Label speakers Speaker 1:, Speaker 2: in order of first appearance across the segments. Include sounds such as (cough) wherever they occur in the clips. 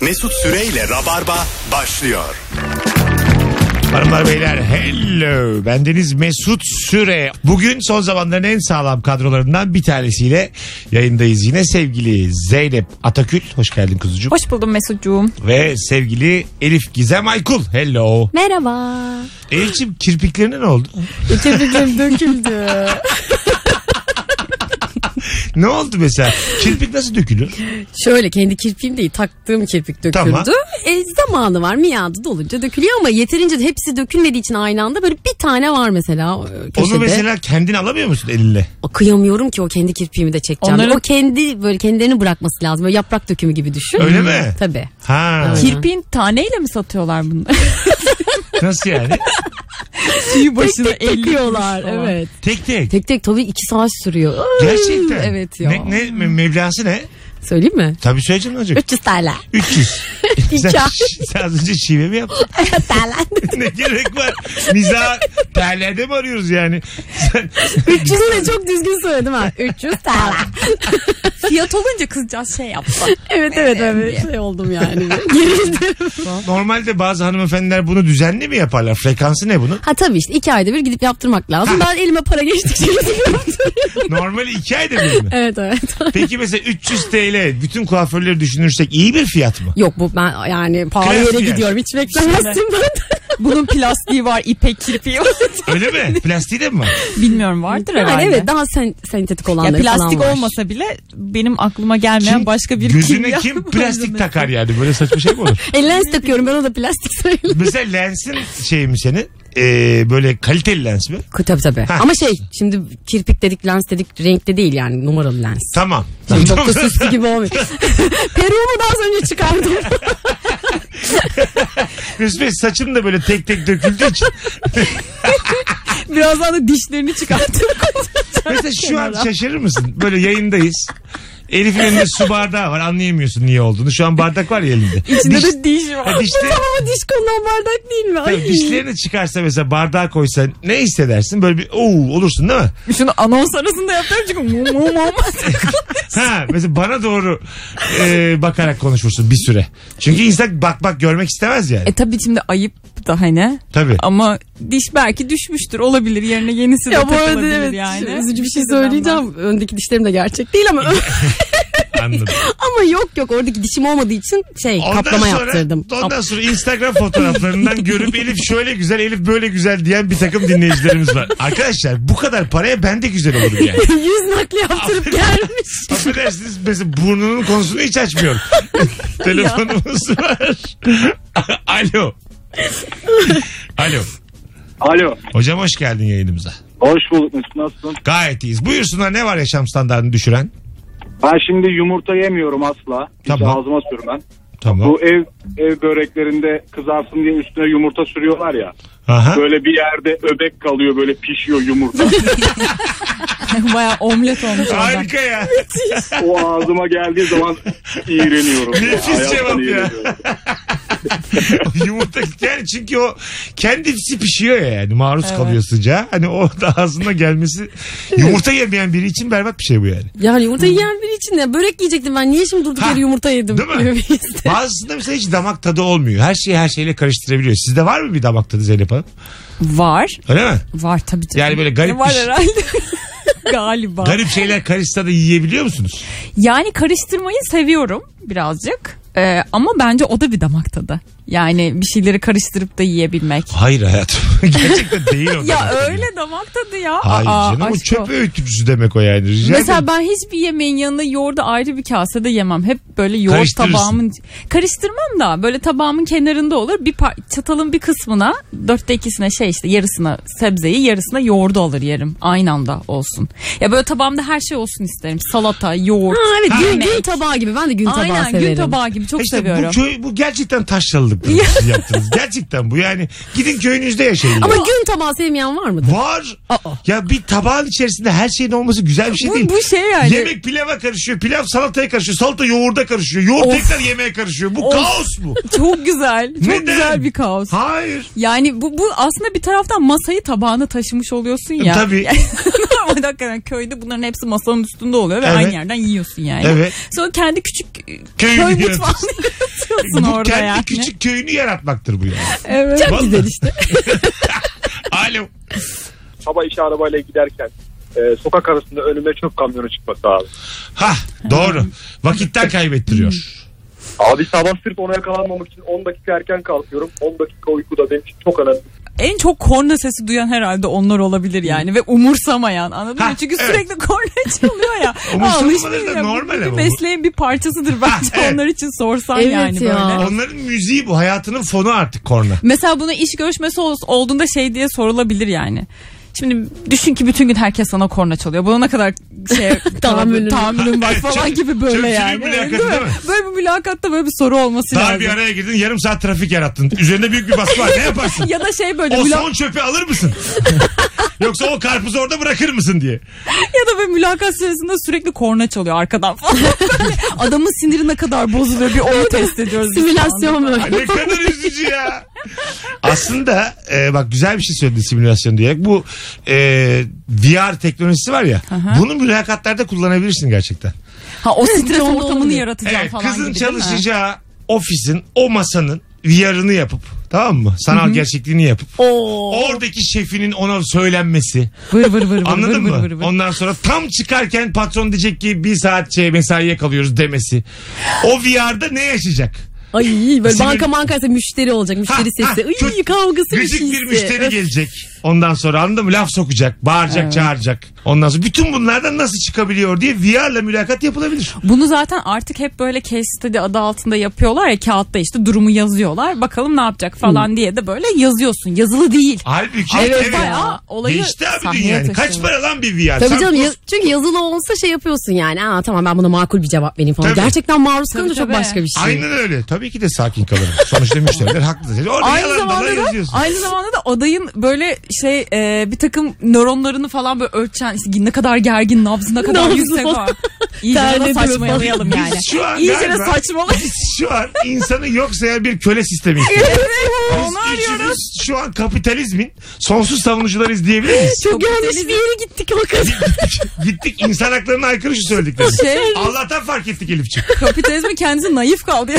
Speaker 1: Mesut Süreyle Rabarba başlıyor.
Speaker 2: Hanımlar beyler hello bendeniz Mesut Süre. Bugün son zamanların en sağlam kadrolarından bir tanesiyle yayındayız yine sevgili Zeynep Atakül hoş geldin
Speaker 3: (laughs)
Speaker 2: kuzucuğum
Speaker 3: Hoş buldum Mesut'cuğum.
Speaker 2: ve sevgili Elif Gizem Aykul hello.
Speaker 3: Merhaba.
Speaker 2: Elif'ciğim kirpiklerine ne oldu?
Speaker 3: Kirpiklerim döküldü.
Speaker 2: Ne oldu mesela? Kirpik nasıl dökülür?
Speaker 4: Şöyle kendi kirpiğim değil taktığım kirpik döküldü.
Speaker 2: Tamam.
Speaker 4: E, zamanı var miyadı dolunca dökülüyor ama yeterince de hepsi dökülmediği için aynı anda böyle bir tane var mesela e, köşede.
Speaker 2: Onu mesela kendin alamıyor musun elinle?
Speaker 4: O, Kıyamıyorum ki o kendi kirpiğimi de çekeceğim.
Speaker 3: Onların-
Speaker 4: O kendi böyle kendilerini bırakması lazım. Böyle yaprak dökümü gibi düşün.
Speaker 2: Öyle mi?
Speaker 4: Tabii.
Speaker 2: Ha
Speaker 3: Kirpiğin taneyle mi satıyorlar bunu?
Speaker 4: (laughs)
Speaker 2: nasıl yani?
Speaker 3: Tüyü başına
Speaker 4: tek tek takıyorlar. Evet. (laughs)
Speaker 2: Tek tek.
Speaker 4: Tek tek tabii iki saat sürüyor. Ay,
Speaker 2: Gerçekten.
Speaker 4: Evet ya.
Speaker 2: Ne, ne, me- mevlası ne?
Speaker 4: Söyleyeyim mi?
Speaker 2: Tabii söyleyeceğim ne olacak?
Speaker 4: 300 TL.
Speaker 2: 300. sen,
Speaker 4: (laughs) İki ay.
Speaker 2: sen az önce şive
Speaker 4: (laughs)
Speaker 2: mi yaptın? (laughs) ne gerek var? Miza terlerde mi arıyoruz yani? Sen,
Speaker 4: 300 de çok düzgün
Speaker 3: (laughs)
Speaker 4: söyledim ha. 300 TL.
Speaker 3: Fiyat olunca kızcağız şey yaptı.
Speaker 4: (laughs) evet evet evet. Şey oldum yani. Gerildim.
Speaker 2: normalde bazı hanımefendiler bunu düzenli mi yaparlar? Frekansı ne bunun?
Speaker 4: Ha tabii işte iki ayda bir gidip yaptırmak lazım. Ben elime para geçtikçe gidip yaptırıyorum.
Speaker 2: Normali iki ayda bir mi?
Speaker 4: evet evet.
Speaker 2: Peki mesela 300 TL bütün kuaförleri düşünürsek iyi bir fiyat mı?
Speaker 4: Yok bu ben yani pahalı
Speaker 2: Kıyas
Speaker 4: yere
Speaker 2: yani.
Speaker 4: gidiyorum. Hiç beklemezsin ben.
Speaker 3: (laughs)
Speaker 4: (laughs)
Speaker 3: Bunun plastiği var, ipek kirpiği var.
Speaker 2: Öyle
Speaker 4: (laughs)
Speaker 2: mi? Plastiği de mi var?
Speaker 3: Bilmiyorum vardır
Speaker 4: Yani
Speaker 3: herhalde.
Speaker 4: Hani evet daha sen, sentetik
Speaker 3: Ya
Speaker 4: olanları
Speaker 3: plastik
Speaker 4: falan var.
Speaker 3: olmasa bile benim aklıma gelmeyen
Speaker 2: Kim-
Speaker 3: başka bir
Speaker 2: Gözüne
Speaker 3: kimya
Speaker 2: kim
Speaker 3: malzemesi.
Speaker 2: plastik takar yani? Böyle saçma şey mi olur?
Speaker 4: (laughs) E, lens takıyorum ben o da plastik sayılır.
Speaker 2: mesela lensin şey mi senin? Ee, böyle kaliteli lens mi?
Speaker 4: Tabii tabii.
Speaker 2: Ha.
Speaker 4: Ama şey şimdi kirpik dedik lens dedik renkte değil yani numaralı lens.
Speaker 2: Tamam.
Speaker 4: Şimdi çok da süslü gibi olmuyor. (laughs) Peruğumu daha az önce çıkardım.
Speaker 2: (laughs) Mesut Bey saçım da böyle tek tek döküldüğü için
Speaker 3: Birazdan da dişlerini çıkartır.
Speaker 2: Mesela şu an şaşırır mısın? Böyle yayındayız. Elif'in elinde su bardağı var anlayamıyorsun niye olduğunu. Şu an bardak var ya elinde.
Speaker 3: İçinde
Speaker 2: Diş-
Speaker 3: de diş var.
Speaker 2: Ha, dişleri-
Speaker 4: Ama diş konulan bardak değil mi? Ay.
Speaker 2: tabii dişlerini çıkarsa mesela bardağa koysa ne hissedersin? Böyle bir ooo olursun değil mi?
Speaker 3: Şunu anons arasında yapıyorum çünkü mum mum mum.
Speaker 2: Ha mesela bana doğru e, bakarak konuşursun bir süre. Çünkü insan bak bak görmek istemez yani.
Speaker 3: E tabii şimdi ayıp da hani.
Speaker 2: Tabii.
Speaker 3: Ama diş belki düşmüştür olabilir yerine yenisi de
Speaker 4: Ya bu arada
Speaker 3: takılabilir
Speaker 4: evet
Speaker 3: yani.
Speaker 4: üzücü bir şey
Speaker 3: de ben
Speaker 4: söyleyeceğim. Öndeki dişlerim de gerçek değil
Speaker 2: (laughs)
Speaker 4: ama
Speaker 2: Anladım.
Speaker 4: ama yok yok oradaki dişim olmadığı için şey
Speaker 2: Ondan
Speaker 4: kaplama
Speaker 2: sonra,
Speaker 4: yaptırdım.
Speaker 2: Ondan sonra Instagram fotoğraflarından görüp Elif şöyle güzel, Elif böyle güzel diyen bir takım dinleyicilerimiz var. Arkadaşlar bu kadar paraya ben de güzel olurum yani.
Speaker 4: (laughs) Yüz nakli yaptırıp
Speaker 2: (laughs)
Speaker 4: gelmiş.
Speaker 2: Affedersiniz mesela burnunun konusunu hiç açmıyorum. Telefonumuz var. (laughs) Alo. Alo.
Speaker 5: Alo.
Speaker 2: Hocam hoş geldin yayınımıza.
Speaker 5: Hoş bulduk Mesut. Nasılsın?
Speaker 2: Gayet iyiyiz. Buyursunlar ne var yaşam standartını düşüren?
Speaker 5: Ben şimdi yumurta yemiyorum asla. Hiç
Speaker 2: Tamam.
Speaker 5: ağzıma sürmem.
Speaker 2: Tamam.
Speaker 5: Bu ev ev böreklerinde kızarsın diye üstüne yumurta sürüyorlar ya.
Speaker 2: Aha.
Speaker 5: Böyle bir yerde öbek kalıyor böyle pişiyor yumurta.
Speaker 3: (laughs) Baya omlet olmuş oradan.
Speaker 2: Harika ya. (laughs)
Speaker 5: o ağzıma geldiği zaman iğreniyorum.
Speaker 2: Nefis
Speaker 5: Hayattan
Speaker 2: cevap ya.
Speaker 5: iğreniyorum.
Speaker 2: Yumurta yani çünkü o kendisi pişiyor ya yani maruz kalıyor sıcağa. Hani o da ağzına gelmesi yumurta yemeyen biri için berbat bir şey bu yani.
Speaker 4: Yani yumurta yiyen biri için ne? Börek yiyecektim ben. Niye şimdi durduk
Speaker 2: Ha,
Speaker 4: yere yumurta yedim?
Speaker 2: değil mi?
Speaker 4: Böyle bir his.
Speaker 2: Bazısında mesela hiç damak tadı olmuyor. Her şeyi her şeyle karıştırabiliyor. Sizde var mı bir damak tadı Zeynep Hanım?
Speaker 3: Var.
Speaker 2: Öyle mi?
Speaker 3: Var tabii canım.
Speaker 2: Yani böyle garip
Speaker 3: Var
Speaker 2: bir-
Speaker 3: herhalde. (laughs) Galiba.
Speaker 2: Garip şeyler karışsa da yiyebiliyor musunuz?
Speaker 3: Yani karıştırmayı seviyorum birazcık. Ee, ama bence o da bir damak tadı. Yani bir şeyleri karıştırıp da yiyebilmek.
Speaker 2: Hayır hayatım. (laughs) Gerçekten değil o.
Speaker 3: Ya
Speaker 2: damak tadı.
Speaker 3: öyle damak tadı ya.
Speaker 2: Hayır
Speaker 3: Aa,
Speaker 2: canım o
Speaker 3: aşk
Speaker 2: çöp
Speaker 3: o.
Speaker 2: öğütücüsü demek o yani. Rica ederim.
Speaker 3: Mesela ben hiçbir yemeğin yanına yoğurdu ayrı bir kasede yemem. Hep böyle yoğurt
Speaker 2: Karıştırırsın.
Speaker 3: tabağımın... Karıştırmam da böyle tabağımın kenarında olur. Bir par- çatalın bir kısmına, dörtte ikisine şey işte yarısına sebzeyi, yarısına yoğurdu alır yerim. Aynı anda olsun. Ya böyle tabağımda her şey olsun isterim. Salata, yoğurt.
Speaker 4: Ha, evet gün,
Speaker 3: yemek.
Speaker 4: gün tabağı gibi. Ben de gün tabağı
Speaker 3: Aynen
Speaker 4: severim.
Speaker 3: gün tabağı gibi çok
Speaker 2: İşte
Speaker 3: seviyorum.
Speaker 2: bu, köy, bu gerçekten taşralılık siz yaptınız. Gerçekten bu yani. Gidin köyünüzde yaşayın.
Speaker 4: Ama
Speaker 2: ya.
Speaker 4: gün tabağı sevmeyen var mıdır?
Speaker 2: Var. Ya bir tabağın içerisinde her şeyin olması güzel bir şey değil.
Speaker 3: bu, bu şey yani.
Speaker 2: Yemek pilava karışıyor, pilav salataya karışıyor, salata yoğurda karışıyor, yoğurt
Speaker 3: Of.
Speaker 2: tekrar yemeğe karışıyor. Bu
Speaker 3: Of.
Speaker 2: kaos mu?
Speaker 3: Çok güzel. Çok
Speaker 2: Neden?
Speaker 3: güzel bir kaos.
Speaker 2: Hayır.
Speaker 3: Yani bu, bu aslında bir taraftan masayı tabağına taşımış oluyorsun ya. (laughs)
Speaker 2: Tabii.
Speaker 3: Normalde hakikaten köyde bunların hepsi masanın üstünde oluyor ve
Speaker 2: Evet.
Speaker 3: aynı yerden yiyorsun yani.
Speaker 2: Evet.
Speaker 3: Sonra kendi küçük e, köy
Speaker 2: Köy yönetimi.
Speaker 3: mutfağı (laughs) anlatıyorsun
Speaker 2: Bu
Speaker 3: orada
Speaker 2: kendi
Speaker 3: yani.
Speaker 2: küçük köyünü yaratmaktır bu yani.
Speaker 3: Evet.
Speaker 4: Çok
Speaker 2: Vallahi.
Speaker 4: güzel işte.
Speaker 2: Alo.
Speaker 5: Sabah işe arabayla giderken e, sokak arasında önüme çöp kamyonu çıkması abi.
Speaker 2: Ha doğru. Vakitten kaybettiriyor.
Speaker 5: Abi sabah sırf ona yakalanmamak için 10 dakika erken kalkıyorum. 10 dakika uyku da benim için çok önemli.
Speaker 3: En çok korna sesi duyan herhalde onlar olabilir yani ve umursamayan anladın
Speaker 2: Ha,
Speaker 3: mı? Çünkü
Speaker 2: evet.
Speaker 3: sürekli korna çalıyor ya.
Speaker 2: Umursamamaları da
Speaker 3: Alışmayın ya.
Speaker 2: normal
Speaker 3: bir
Speaker 2: ama bu.
Speaker 3: mesleğin bir parçasıdır bence
Speaker 2: evet.
Speaker 3: onlar için sorsan
Speaker 4: Evet
Speaker 3: yani
Speaker 4: ya.
Speaker 3: böyle.
Speaker 2: Onların müziği bu. Hayatının fonu artık korna.
Speaker 3: Mesela buna iş görüşmesi ol- olduğunda şey diye sorulabilir yani. Şimdi düşün ki bütün gün herkes sana korna çalıyor. Buna ne kadar şey
Speaker 4: (laughs) Tahammülün-
Speaker 3: tahammülün var
Speaker 2: Evet,
Speaker 3: falan
Speaker 2: çöp-
Speaker 3: gibi böyle
Speaker 2: çöpçünün
Speaker 3: yani.
Speaker 2: mülakatı
Speaker 3: Değil mi?
Speaker 2: değil mi?
Speaker 3: Böyle bir mülakatta böyle bir soru olması
Speaker 2: Daha
Speaker 3: lazım.
Speaker 2: bir araya girdin yarım saat trafik yarattın. Üzerinde büyük bir baskı var. Ne yaparsın?
Speaker 3: Ya da şey böyle
Speaker 2: o
Speaker 3: mülak-
Speaker 2: son çöpü alır mısın? (laughs) Yoksa o karpuzu orada bırakır mısın diye.
Speaker 3: Ya da böyle mülakat sırasında sürekli korna çalıyor arkadan falan. (laughs) Böyle Adamın siniri ne kadar bozuluyor bir onu test ediyoruz. biz şu
Speaker 4: Simülasyon
Speaker 3: anda.
Speaker 2: Ay
Speaker 4: böyle.
Speaker 2: Ne kadar üzücü ya. Aslında e, bak güzel bir şey söyledi simülasyon diyerek. Bu e, VR teknolojisi var ya. Bunu mülakatlarda kullanabilirsin gerçekten.
Speaker 3: Ha
Speaker 4: (laughs)
Speaker 3: o stres
Speaker 4: Onda
Speaker 3: ortamını
Speaker 4: olmuyor.
Speaker 3: yaratacağım
Speaker 2: Evet,
Speaker 3: falan
Speaker 2: kızın
Speaker 3: gibi değil mi?
Speaker 2: çalışacağı ofisin o masanın VR'ını yapıp tamam mı? Sanal gerçekliğini yapıp
Speaker 3: Oo.
Speaker 2: oradaki şefinin ona söylenmesi.
Speaker 3: Vır vır vır vır vır
Speaker 2: Anladın
Speaker 3: vır
Speaker 2: mı?
Speaker 3: vır vır.
Speaker 2: Ondan sonra tam çıkarken patron diyecek ki bir saat şey mesaiye kalıyoruz demesi. O VR'da ne yaşayacak?
Speaker 4: Ay
Speaker 2: Sinir-
Speaker 4: böyle banka mankaysa müşteri olacak. Müşteri
Speaker 2: Ha, ha,
Speaker 4: sesi. Iy,
Speaker 2: çok
Speaker 4: kavgası bir
Speaker 2: Gıcık
Speaker 4: şeysi.
Speaker 2: bir müşteri gelecek. Ondan sonra anladın mı? Laf sokacak, bağıracak, çağıracak. Ondan sonra bütün bunlardan nasıl çıkabiliyor diye VR'la mülakat yapılabilir.
Speaker 3: Bunu zaten artık hep böyle case study adı altında yapıyorlar ya kağıtta işte durumu yazıyorlar. Bakalım ne yapacak falan diye de böyle yazıyorsun. Yazılı değil.
Speaker 2: Halbuki
Speaker 3: Evet,
Speaker 2: evet,
Speaker 3: bayağı olayı
Speaker 2: Değişti abi
Speaker 3: sahneye
Speaker 2: dünya. yani. Kaç
Speaker 3: taşıyorlar.
Speaker 2: para lan bir VR?
Speaker 4: Tabii
Speaker 2: Sen
Speaker 4: canım
Speaker 2: bu-
Speaker 4: yaz- çünkü yazılı olsa şey yapıyorsun yani. Aa tamam ben buna makul bir cevap vereyim falan.
Speaker 2: Tabii.
Speaker 4: Gerçekten maruz kalınca çok
Speaker 3: tabii.
Speaker 4: başka bir şey.
Speaker 2: Aynen öyle. Tabii ki de sakin kalırım. Sonuçta müşteriler haklı. Orada
Speaker 3: Aynı
Speaker 2: yalan
Speaker 3: zamanda
Speaker 2: dolan
Speaker 3: da
Speaker 2: yazıyorsun.
Speaker 3: aynı zamanda da adayın böyle şey e, bir takım nöronlarını falan böyle ölçen işte ne kadar gergin nabzı ne kadar
Speaker 4: Nabzı
Speaker 3: yüksek
Speaker 4: falan.
Speaker 3: var. İyice de
Speaker 4: Terledi mi
Speaker 3: saçmalayalım
Speaker 4: falan.
Speaker 3: yani.
Speaker 2: Biz şu an
Speaker 3: İyice de
Speaker 2: galiba-
Speaker 3: saçmalayalım.
Speaker 2: Biz şu an insanı yok sayan bir köle sistemi. Biz
Speaker 3: Onu arıyoruz.
Speaker 2: üçümüz şu an kapitalizmin sonsuz savunucularıyız diyebilir
Speaker 3: (laughs)
Speaker 2: miyiz?
Speaker 4: Çok yanlış bir yere gittik o kadar.
Speaker 2: Gittik insan haklarına aykırı şu söylediklerimiz.
Speaker 3: Şey,
Speaker 2: Allah'tan fark ettik Elif'ciğim.
Speaker 3: kapitalizmin kendisi naif kaldı.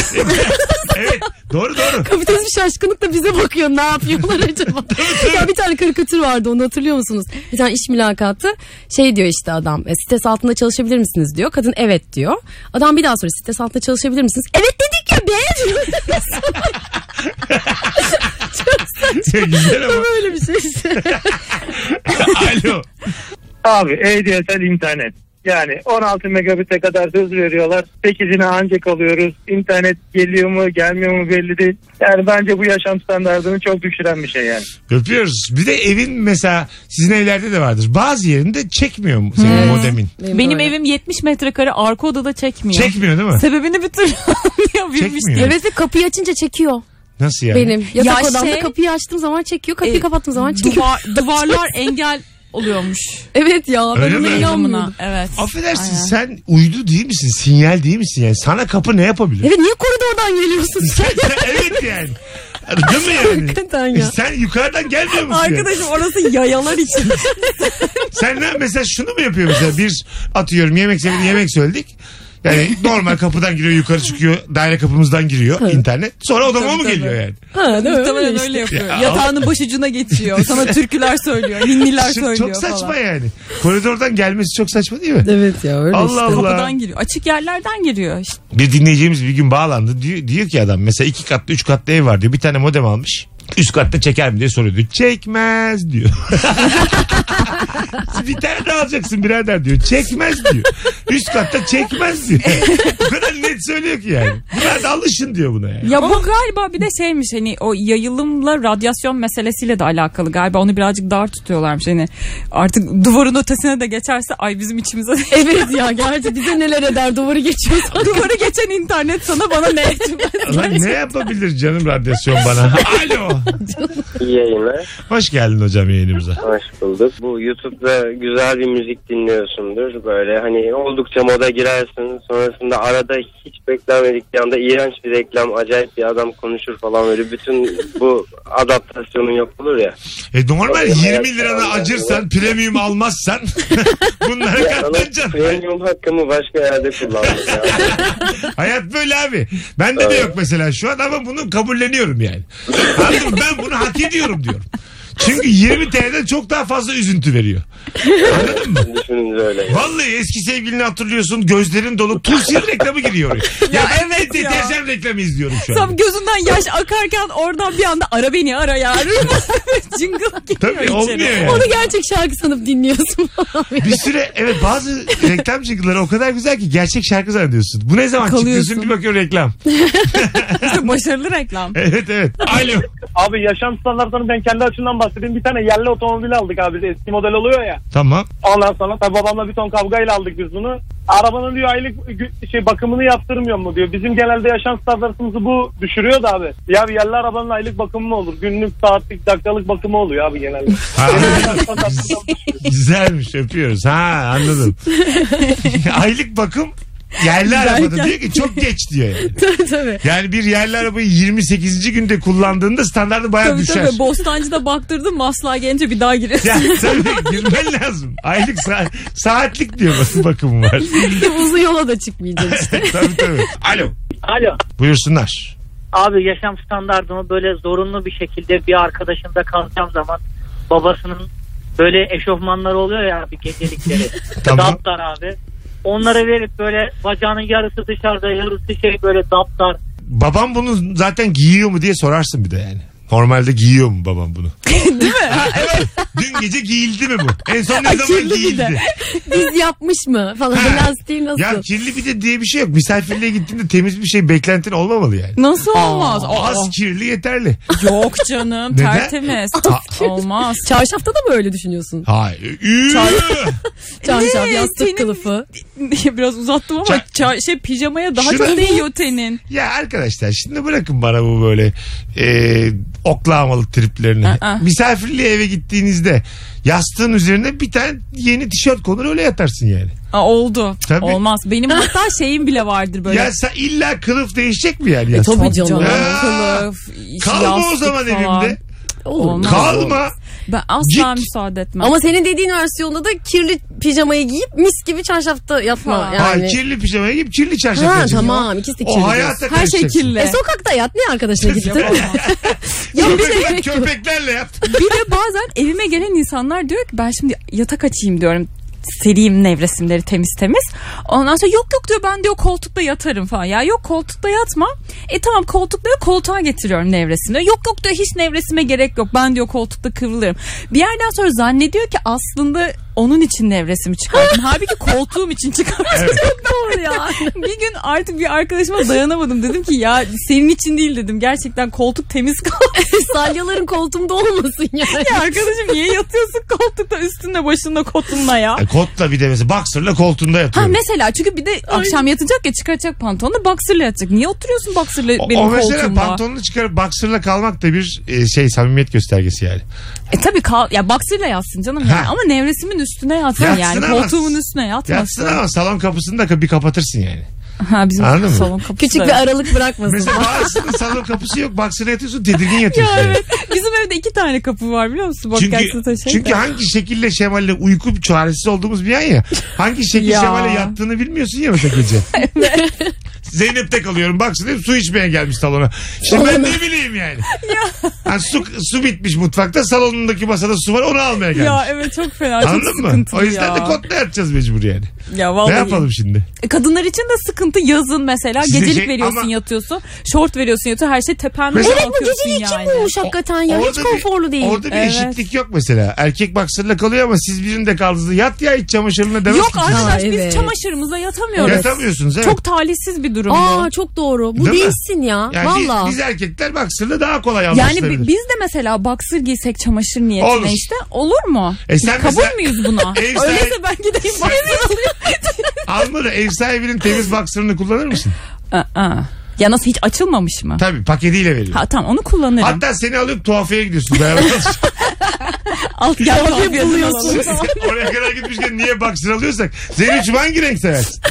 Speaker 2: Evet doğru doğru.
Speaker 4: Kapitalizm şaşkınlıkla bize bakıyor ne yapıyorlar
Speaker 2: (laughs)
Speaker 4: acaba? ya bir tane karikatür vardı onu hatırlıyor musunuz? Bir tane iş mülakatı şey diyor işte adam e, stres altında çalışabilir misiniz diyor. Kadın evet diyor. Adam bir daha soruyor stres altında çalışabilir misiniz? Evet dedik ya be
Speaker 2: (laughs)
Speaker 4: diyor.
Speaker 2: Güzel ama.
Speaker 4: Böyle bir şey işte.
Speaker 2: (laughs) Alo.
Speaker 6: Abi ADSL internet. Yani 16 megabit'e kadar hız veriyorlar. 8'ine ancak alıyoruz. İnternet geliyor mu gelmiyor mu belli değil. Yani bence bu yaşam standartını çok düşüren bir şey yani.
Speaker 2: Öpüyoruz. Bir de evin mesela sizin evlerde de vardır. Bazı yerinde çekmiyor mu senin modemin?
Speaker 3: Hmm. Benim
Speaker 4: böyle.
Speaker 3: evim 70 metrekare arka odada çekmiyor.
Speaker 2: Çekmiyor değil mi?
Speaker 3: Sebebini bir türlü anlayabilmiş
Speaker 2: Çekmiyor.
Speaker 3: değil.
Speaker 4: Evet ve kapıyı açınca çekiyor
Speaker 2: Nasıl yani?
Speaker 4: benim. Yatak
Speaker 3: Ya
Speaker 4: odamda
Speaker 3: şey-
Speaker 4: kapıyı açtığım zaman çekiyor. Kapıyı
Speaker 3: E,
Speaker 4: kapattığım zaman çekiyor.
Speaker 3: Duvar, duvarlar engel oluyormuş.
Speaker 4: (laughs) Evet ya ben
Speaker 2: Öyle
Speaker 4: ona
Speaker 2: mi?
Speaker 4: inanmıyordum.
Speaker 3: Evet.
Speaker 2: Affedersin
Speaker 3: Aynen.
Speaker 2: sen uydu değil misin? Sinyal değil misin yani? Sana kapı ne (laughs) yapabilir?
Speaker 4: Evet niye koridordan geliyorsun sen?
Speaker 2: evet yani. Değil mi yani? E
Speaker 4: Hakikaten ya.
Speaker 2: Sen yukarıdan gelmiyor musun? yani?
Speaker 3: Arkadaşım orası yayalar için. (laughs)
Speaker 2: Sen ne, mesela şunu mu yapıyor mesela bir atıyorum yemek sepeti yemek söyledik. Yani normal kapıdan giriyor yukarı çıkıyor daire kapımızdan giriyor internet. Sonra odama
Speaker 3: Tabii,
Speaker 2: mı
Speaker 3: tabii.
Speaker 2: geliyor yani?
Speaker 4: Ha, değil mi?
Speaker 3: Muhtemelen
Speaker 4: işte.
Speaker 3: öyle yapıyor.
Speaker 2: Ya.
Speaker 3: Yatağının başucuna geçiyor. Sana türküler söylüyor. Ninniler
Speaker 2: Şimdi
Speaker 3: söylüyor
Speaker 2: çok saçma
Speaker 3: falan.
Speaker 2: yani. Koridordan gelmesi çok saçma değil mi?
Speaker 4: Evet ya öyle
Speaker 2: Allah Allah.
Speaker 3: Kapıdan giriyor. Açık yerlerden giriyor. İşte
Speaker 2: Bir dinleyicimiz bir gün bağlandı. Diyor, diyor ki adam mesela iki katlı üç katlı ev var diyor. Bir tane modem almış. Üst katta çeker mi diye soruyor. diyor. Çekmez diyor. (laughs) bir tane daha alacaksın birader diyor. Çekmez diyor. Üst katta çekmez diyor. Bu kadar net söylüyor ki yani. Buna da alışın diyor buna yani.
Speaker 3: Ya bu galiba bir de şeymiş hani o yayılımla radyasyon meselesiyle de alakalı galiba onu birazcık dar tutuyorlarmış hani artık duvarın ötesine de geçerse ay bizim içimize (laughs)
Speaker 4: Evet ya gerçi bize neler eder duvarı geçiyoruz.
Speaker 3: duvarı geçen internet sana bana ne
Speaker 2: Lan ne yapabilir canım radyasyon bana? Alo.
Speaker 7: İyi yayınlar.
Speaker 2: Hoş geldin hocam yayınımıza.
Speaker 7: Hoş bulduk. Bu YouTube'da güzel bir müzik dinliyorsundur. Böyle hani oldukça moda girersin. Sonrasında arada hiç beklenmedik bir anda iğrenç bir reklam, acayip bir adam konuşur falan böyle. Bütün bu adaptasyonun yok olur ya.
Speaker 2: E normal
Speaker 7: Tabii,
Speaker 2: 20
Speaker 7: hayat
Speaker 2: lirana
Speaker 7: pahalı.
Speaker 2: acırsan, premium almazsan (laughs) bunlara
Speaker 7: Ya sana
Speaker 2: katlanacaksın.
Speaker 7: premium hakkımı başka yerde kullandım ya.
Speaker 2: Hayat böyle abi. Bende de yok mesela şu an ama bunu kabulleniyorum yani. Anladın mı? Ben bunu hak ediyorum diyorum. Çünkü 20 TL'den çok daha fazla üzüntü veriyor.
Speaker 7: Düşününce öyle.
Speaker 2: Vallahi eski sevgilini hatırlıyorsun gözlerin dolu Tulsin reklamı giriyor. Ya, ben
Speaker 3: (laughs)
Speaker 2: evet
Speaker 3: ya.
Speaker 2: deterjan reklamı izliyorum şu an.
Speaker 3: Tam gözünden yaş akarken oradan bir anda ara beni ara (laughs) yarın. Jingle geliyor
Speaker 2: Tabii,
Speaker 3: içeri.
Speaker 2: olmuyor yani.
Speaker 4: Onu gerçek şarkı sanıp dinliyorsun falan.
Speaker 2: Bir süre evet bazı reklam şarkıları o kadar güzel ki gerçek şarkı zannediyorsun. Bu ne zaman çıkıyorsun
Speaker 3: Kalıyorsun.
Speaker 2: bir bakıyorsun reklam.
Speaker 3: Çok başarılı (laughs) reklam.
Speaker 2: Evet evet. Alo.
Speaker 8: Abi yaşam standartlarını ben kendi açımdan bahsedeyim. Bir tane yerli otomobil aldık abi. Biz Eski model oluyor ya.
Speaker 2: Tamam.
Speaker 8: Ondan sonra tabii babamla bir ton kavgayla aldık biz bunu. Arabanın diyor aylık gü- şey bakımını yaptırmıyor mu diyor. Bizim genelde yaşam standartımızı bu düşürüyor da abi. Ya bir yerli arabanın aylık bakımı mı olur? Günlük, saatlik, dakikalık bakımı oluyor abi genelde.
Speaker 2: Ha,
Speaker 8: Yaşam standartımızı
Speaker 2: güzelmiş öpüyoruz. Ha
Speaker 4: (laughs)
Speaker 2: anladım. Aylık bakım yerli arabada diyor ki çok geç diyor yani.
Speaker 4: (laughs) tabii tabii.
Speaker 2: Yani bir yerli arabayı 28. günde kullandığında standartı bayağı
Speaker 3: Tabii
Speaker 2: düşer.
Speaker 3: tabii Bostancı'da baktırdım Maslak'a gelince bir daha (laughs) giriyorsun.
Speaker 2: Ya tabii girmen lazım. Aylık sa- saatlik diyor bakım bakım var.
Speaker 4: (laughs) Uzun yola da çıkmayacak işte.
Speaker 2: tabii tabii. Alo.
Speaker 9: Alo.
Speaker 2: Buyursunlar.
Speaker 9: Abi yaşam standartımı böyle zorunlu bir şekilde bir arkadaşımda kalacağım zaman babasının böyle eşofmanları oluyor ya abi gecelikleri.
Speaker 2: Tamam.
Speaker 9: Daptar abi. Onları verip böyle bacağının yarısı dışarıda yarısı şey böyle daptar.
Speaker 2: Babam bunu zaten giyiyor mu diye sorarsın bir de yani. Normalde giyiyor mu
Speaker 4: (laughs)
Speaker 2: babam bunu? Değil mi? evet. Dün gece giyildi mi bu? En son ne zaman
Speaker 4: kirli bir de.
Speaker 2: giyildi?
Speaker 4: Biz yapmış mı falan. (laughs)
Speaker 2: Ha.
Speaker 4: Lastiği nasıl?
Speaker 2: Ya kirli bir de diye bir şey yok. Misafirliğe gittiğinde temiz bir şey beklentin olmamalı yani.
Speaker 3: Nasıl olmaz? Aa,
Speaker 2: Az kirli yeterli.
Speaker 3: Yok canım
Speaker 2: Neden?
Speaker 3: tertemiz. olmaz.
Speaker 4: Çarşafta da mı öyle düşünüyorsun?
Speaker 2: Hayır. Üü.
Speaker 4: Çarşaf,
Speaker 3: Ne?
Speaker 4: yastık
Speaker 3: Senin-
Speaker 4: kılıfı.
Speaker 3: Biraz uzattım ama
Speaker 2: Ça-
Speaker 3: ça- şey pijamaya daha
Speaker 2: Şuna-
Speaker 3: çok değiyor tenin.
Speaker 2: (laughs) Ya arkadaşlar şimdi bırakın bana bu böyle e, oklamalı triplerini.
Speaker 3: Aa.
Speaker 2: Misafirliğe eve gittiğinizde yastığın üzerine bir tane yeni tişört konur öyle yatarsın yani.
Speaker 3: Aa, oldu.
Speaker 2: Tabii.
Speaker 3: Olmaz. (laughs) Benim hatta şeyim bile vardır böyle.
Speaker 2: Ya sen illa kılıf değişecek mi yani? yastık?
Speaker 4: E, Tabii canım.
Speaker 2: Ya.
Speaker 3: Kılıf, işte
Speaker 2: Kalma o
Speaker 3: yastık
Speaker 2: zaman
Speaker 3: falan.
Speaker 2: evimde.
Speaker 3: Olmaz.
Speaker 2: Kalma.
Speaker 3: Ben asla
Speaker 2: Git.
Speaker 3: müsaade etmem.
Speaker 4: Ama senin dediğin versiyonda da kirli pijamayı giyip mis gibi çarşafta yatma
Speaker 3: Ha.
Speaker 2: Ay,
Speaker 4: yani.
Speaker 2: kirli pijamaya giyip kirli çarşaf
Speaker 4: ha
Speaker 2: yapacaksın.
Speaker 4: tamam ikisi de kirli.
Speaker 2: şey O
Speaker 4: diyorsun.
Speaker 2: hayata
Speaker 3: her şey
Speaker 2: karışacaksın.
Speaker 3: kirli.
Speaker 4: E sokakta yat ne arkadaşına gittin?
Speaker 2: (laughs)
Speaker 4: ya bir şey- de
Speaker 2: Köpekler,
Speaker 4: gerek yok.
Speaker 2: köpeklerle yat.
Speaker 3: bir de bazen evime gelen insanlar diyor ki ben şimdi yatak açayım diyorum sereyim nevresimleri temiz temiz. Ondan sonra yok yok diyor ben diyor koltukta yatarım falan. Ya yok koltukta yatma. E tamam koltukta koltuğa getiriyorum nevresimleri. Yok yok diyor hiç nevresime gerek yok. Ben diyor koltukta kıvrılırım. Bir yerden sonra zannediyor ki aslında onun için nevresimi çıkarttım. Halbuki koltuğum için çıkarttım. Çok (laughs) doğru ya. bir gün artık bir arkadaşıma dayanamadım. Dedim ki ya senin için değil dedim. Gerçekten koltuk temiz kaldı.
Speaker 4: Salyaların koltuğumda olmasın yani.
Speaker 3: Ya arkadaşım niye yatıyorsun koltukta üstünde başında kotunla ya?
Speaker 2: Ay, Kotla bir de mesela boxer'la koltuğunda
Speaker 3: Ha
Speaker 2: yatıyorum.
Speaker 3: mesela çünkü bir de akşam yatacak ya çıkaracak pantolonu boxer'la yatacak. Niye oturuyorsun boxer'la
Speaker 2: O,
Speaker 3: benim
Speaker 2: o mesela
Speaker 3: koltuğumda?
Speaker 2: pantolonunu çıkarıp boxer'la kalmak da bir e, şey samimiyet göstergesi yani.
Speaker 3: E tabii kal ya boxer'la yatsın canım
Speaker 2: Ha.
Speaker 3: yani. ama nevresimin üstüne yatsın
Speaker 2: Yatsın
Speaker 3: yani.
Speaker 2: ama-
Speaker 3: Koltuğumun üstüne yatmasın.
Speaker 2: Yatsın ama salon kapısını da bir kapatırsın yani.
Speaker 3: Ha bizim
Speaker 2: Anladın mı?
Speaker 3: salon kapısı.
Speaker 4: Küçük
Speaker 3: da-
Speaker 4: bir aralık
Speaker 2: (laughs)
Speaker 4: bırakmasın.
Speaker 2: Mesela bazısının salon kapısı yok. Baksana
Speaker 3: (laughs)
Speaker 2: yatıyorsun tedirgin yatıyorsun. yani.
Speaker 3: bizim evde iki tane kapı var biliyor musun? Bak gelsin
Speaker 2: Çünkü,
Speaker 3: taşıyın
Speaker 2: çünkü
Speaker 3: da.
Speaker 2: hangi şekilde şemalle uyku çaresiz olduğumuz bir an ya. Hangi şekil
Speaker 3: Ya.
Speaker 2: şemalle yattığını bilmiyorsun ya
Speaker 3: (laughs)
Speaker 2: mesela gece. Zeynep'te kalıyorum. Baksın hep su içmeye gelmiş salona. Şimdi ben ne bileyim yani. Ha, su, su bitmiş mutfakta. Salonundaki masada su var onu almaya gelmiş.
Speaker 3: ya evet çok fena çok
Speaker 2: Anladın mı?
Speaker 3: sıkıntılı
Speaker 2: O yüzden
Speaker 3: ya.
Speaker 2: de kotla yatacağız mecbur yani.
Speaker 3: ya vallahi
Speaker 2: ne yapalım şimdi?
Speaker 3: E, Kadınlar için de sıkıntı yazın mesela.
Speaker 2: Size
Speaker 3: gecelik
Speaker 2: şey-
Speaker 3: veriyorsun
Speaker 2: ama-
Speaker 3: yatıyorsun. Şort veriyorsun yatıyorsun. Her şey tepende
Speaker 2: Mesela-
Speaker 4: Evet bu
Speaker 3: kalkıyorsun
Speaker 4: geceliği
Speaker 3: yani.
Speaker 4: kim bulmuş hakikaten ya? Hiç
Speaker 2: bir-
Speaker 4: konforlu değil.
Speaker 2: Orada bir
Speaker 3: Evet.
Speaker 2: eşitlik yok mesela. Erkek baksırla kalıyor ama siz birinde kaldınız. Yat ya iç çamaşırına demez
Speaker 3: Yok
Speaker 2: ki.
Speaker 3: arkadaş
Speaker 4: Ha,
Speaker 3: biz
Speaker 4: evet.
Speaker 3: çamaşırımıza yatamıyoruz.
Speaker 2: Yatamıyorsunuz evet.
Speaker 3: Çok talihsiz bir durum bu.
Speaker 4: Aa çok doğru. Bu
Speaker 2: Değil mi?
Speaker 4: değilsin ya.
Speaker 2: Yani biz-
Speaker 4: Valla.
Speaker 2: Biz, erkekler baksırla daha kolay
Speaker 3: Yani
Speaker 2: anlaşılabilir.
Speaker 3: bi- biz de mesela boxer giysek çamaşır niyetine
Speaker 2: Olur.
Speaker 3: işte olur mu?
Speaker 2: E sen
Speaker 3: Kabul
Speaker 2: mesela- E
Speaker 3: müyüz
Speaker 2: (laughs)
Speaker 3: buna?
Speaker 2: Ev sahibi-
Speaker 3: Öyleyse ben gideyim boxer alayım. (laughs)
Speaker 2: Almadı ev sahibinin temiz baksırını kullanır mısın?
Speaker 3: Aa, Ya nasıl hiç açılmamış mı?
Speaker 2: Tabii paketiyle veriyor.
Speaker 3: Ha tamam onu kullanırım.
Speaker 2: Hatta seni alıp tuhafeye gidiyorsun. Beraber
Speaker 3: (laughs) Alt
Speaker 2: Şey
Speaker 3: gel buluyorsun.
Speaker 2: Oraya kadar gitmişken niye baksır alıyorsak. Zeynep'ciğim hangi renk seversin?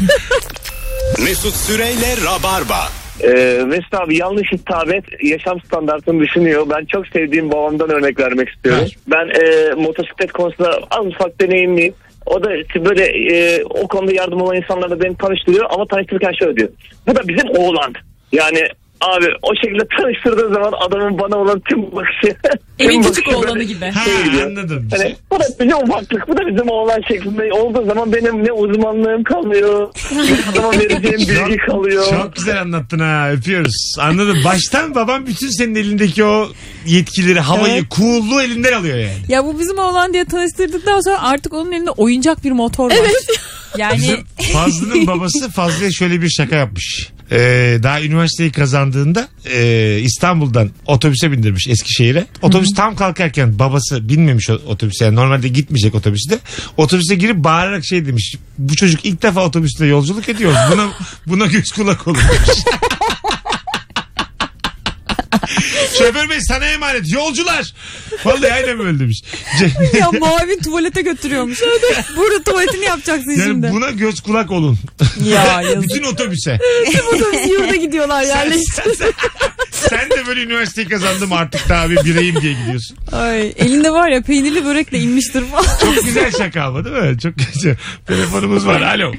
Speaker 1: Mesut Süreyle Rabarba.
Speaker 6: Ee, Mesut abi yanlış hitabet yaşam standartını düşünüyor. Ben çok sevdiğim babamdan örnek vermek istiyorum.
Speaker 2: Ver.
Speaker 6: Ben e, motosiklet konusunda az ufak deneyimliyim. O da böyle e, o konuda yardım olan insanlarla beni tanıştırıyor ama tanıştırırken şöyle diyor. Bu da bizim oğlan. Yani abi o şekilde tanıştırdığı zaman adamın bana olan tüm bakışı... (laughs) tüm
Speaker 3: Evin küçük
Speaker 6: bakışı böyle
Speaker 3: oğlanı
Speaker 2: (laughs)
Speaker 3: gibi.
Speaker 2: Ha
Speaker 6: şey diyor.
Speaker 2: anladım.
Speaker 6: Hani, bu da bizim ufaklık, bu da bizim oğlan şeklinde olduğu zaman benim ne uzmanlığım kalıyor,
Speaker 3: (laughs)
Speaker 6: ne zaman vereceğim bilgi kalıyor.
Speaker 2: Çok güzel anlattın ha öpüyoruz. Anladım. Baştan babam bütün senin elindeki o yetkileri, havayı,
Speaker 3: Evet.
Speaker 2: cool'luğu elinden alıyor yani.
Speaker 3: Ya bu bizim oğlan diye tanıştırdıktan sonra artık onun elinde oyuncak bir motor var. Evet. (laughs) Yani
Speaker 2: Bizim
Speaker 3: (laughs)
Speaker 2: Fazlı'nın babası Fazlı'ya şöyle bir şaka yapmış. Ee, daha üniversiteyi kazandığında e, İstanbul'dan otobüse bindirmiş Eskişehir'e. Otobüs tam kalkarken babası binmemiş o- otobüse. Yani normalde gitmeyecek otobüste. Otobüse girip bağırarak şey demiş. Bu çocuk ilk defa otobüste yolculuk ediyor.
Speaker 3: (laughs)
Speaker 2: Buna, buna göz kulak olun demiş. Şoför bey sana emanet. Yolcular. Vallahi aynen böyle demiş. Ce-
Speaker 3: ya muavin tuvalete götürüyormuş.
Speaker 2: (laughs)
Speaker 3: Burada tuvaletini yapacaksın
Speaker 2: yani
Speaker 3: şimdi.
Speaker 2: buna göz kulak olun.
Speaker 3: Ya
Speaker 2: (laughs)
Speaker 3: yazık.
Speaker 2: Bütün otobüse.
Speaker 4: Otobüs yurda gidiyorlar
Speaker 2: Sen,
Speaker 4: yerleşti.
Speaker 2: sen, sen- (laughs) sen de böyle üniversiteyi kazandım artık daha bir bireyim diye gidiyorsun.
Speaker 3: Ay, elinde var ya peynirli börekle inmiştir (laughs) falan.
Speaker 2: Çok güzel şaka ama değil mi? Çok güzel. Telefonumuz var. Alo.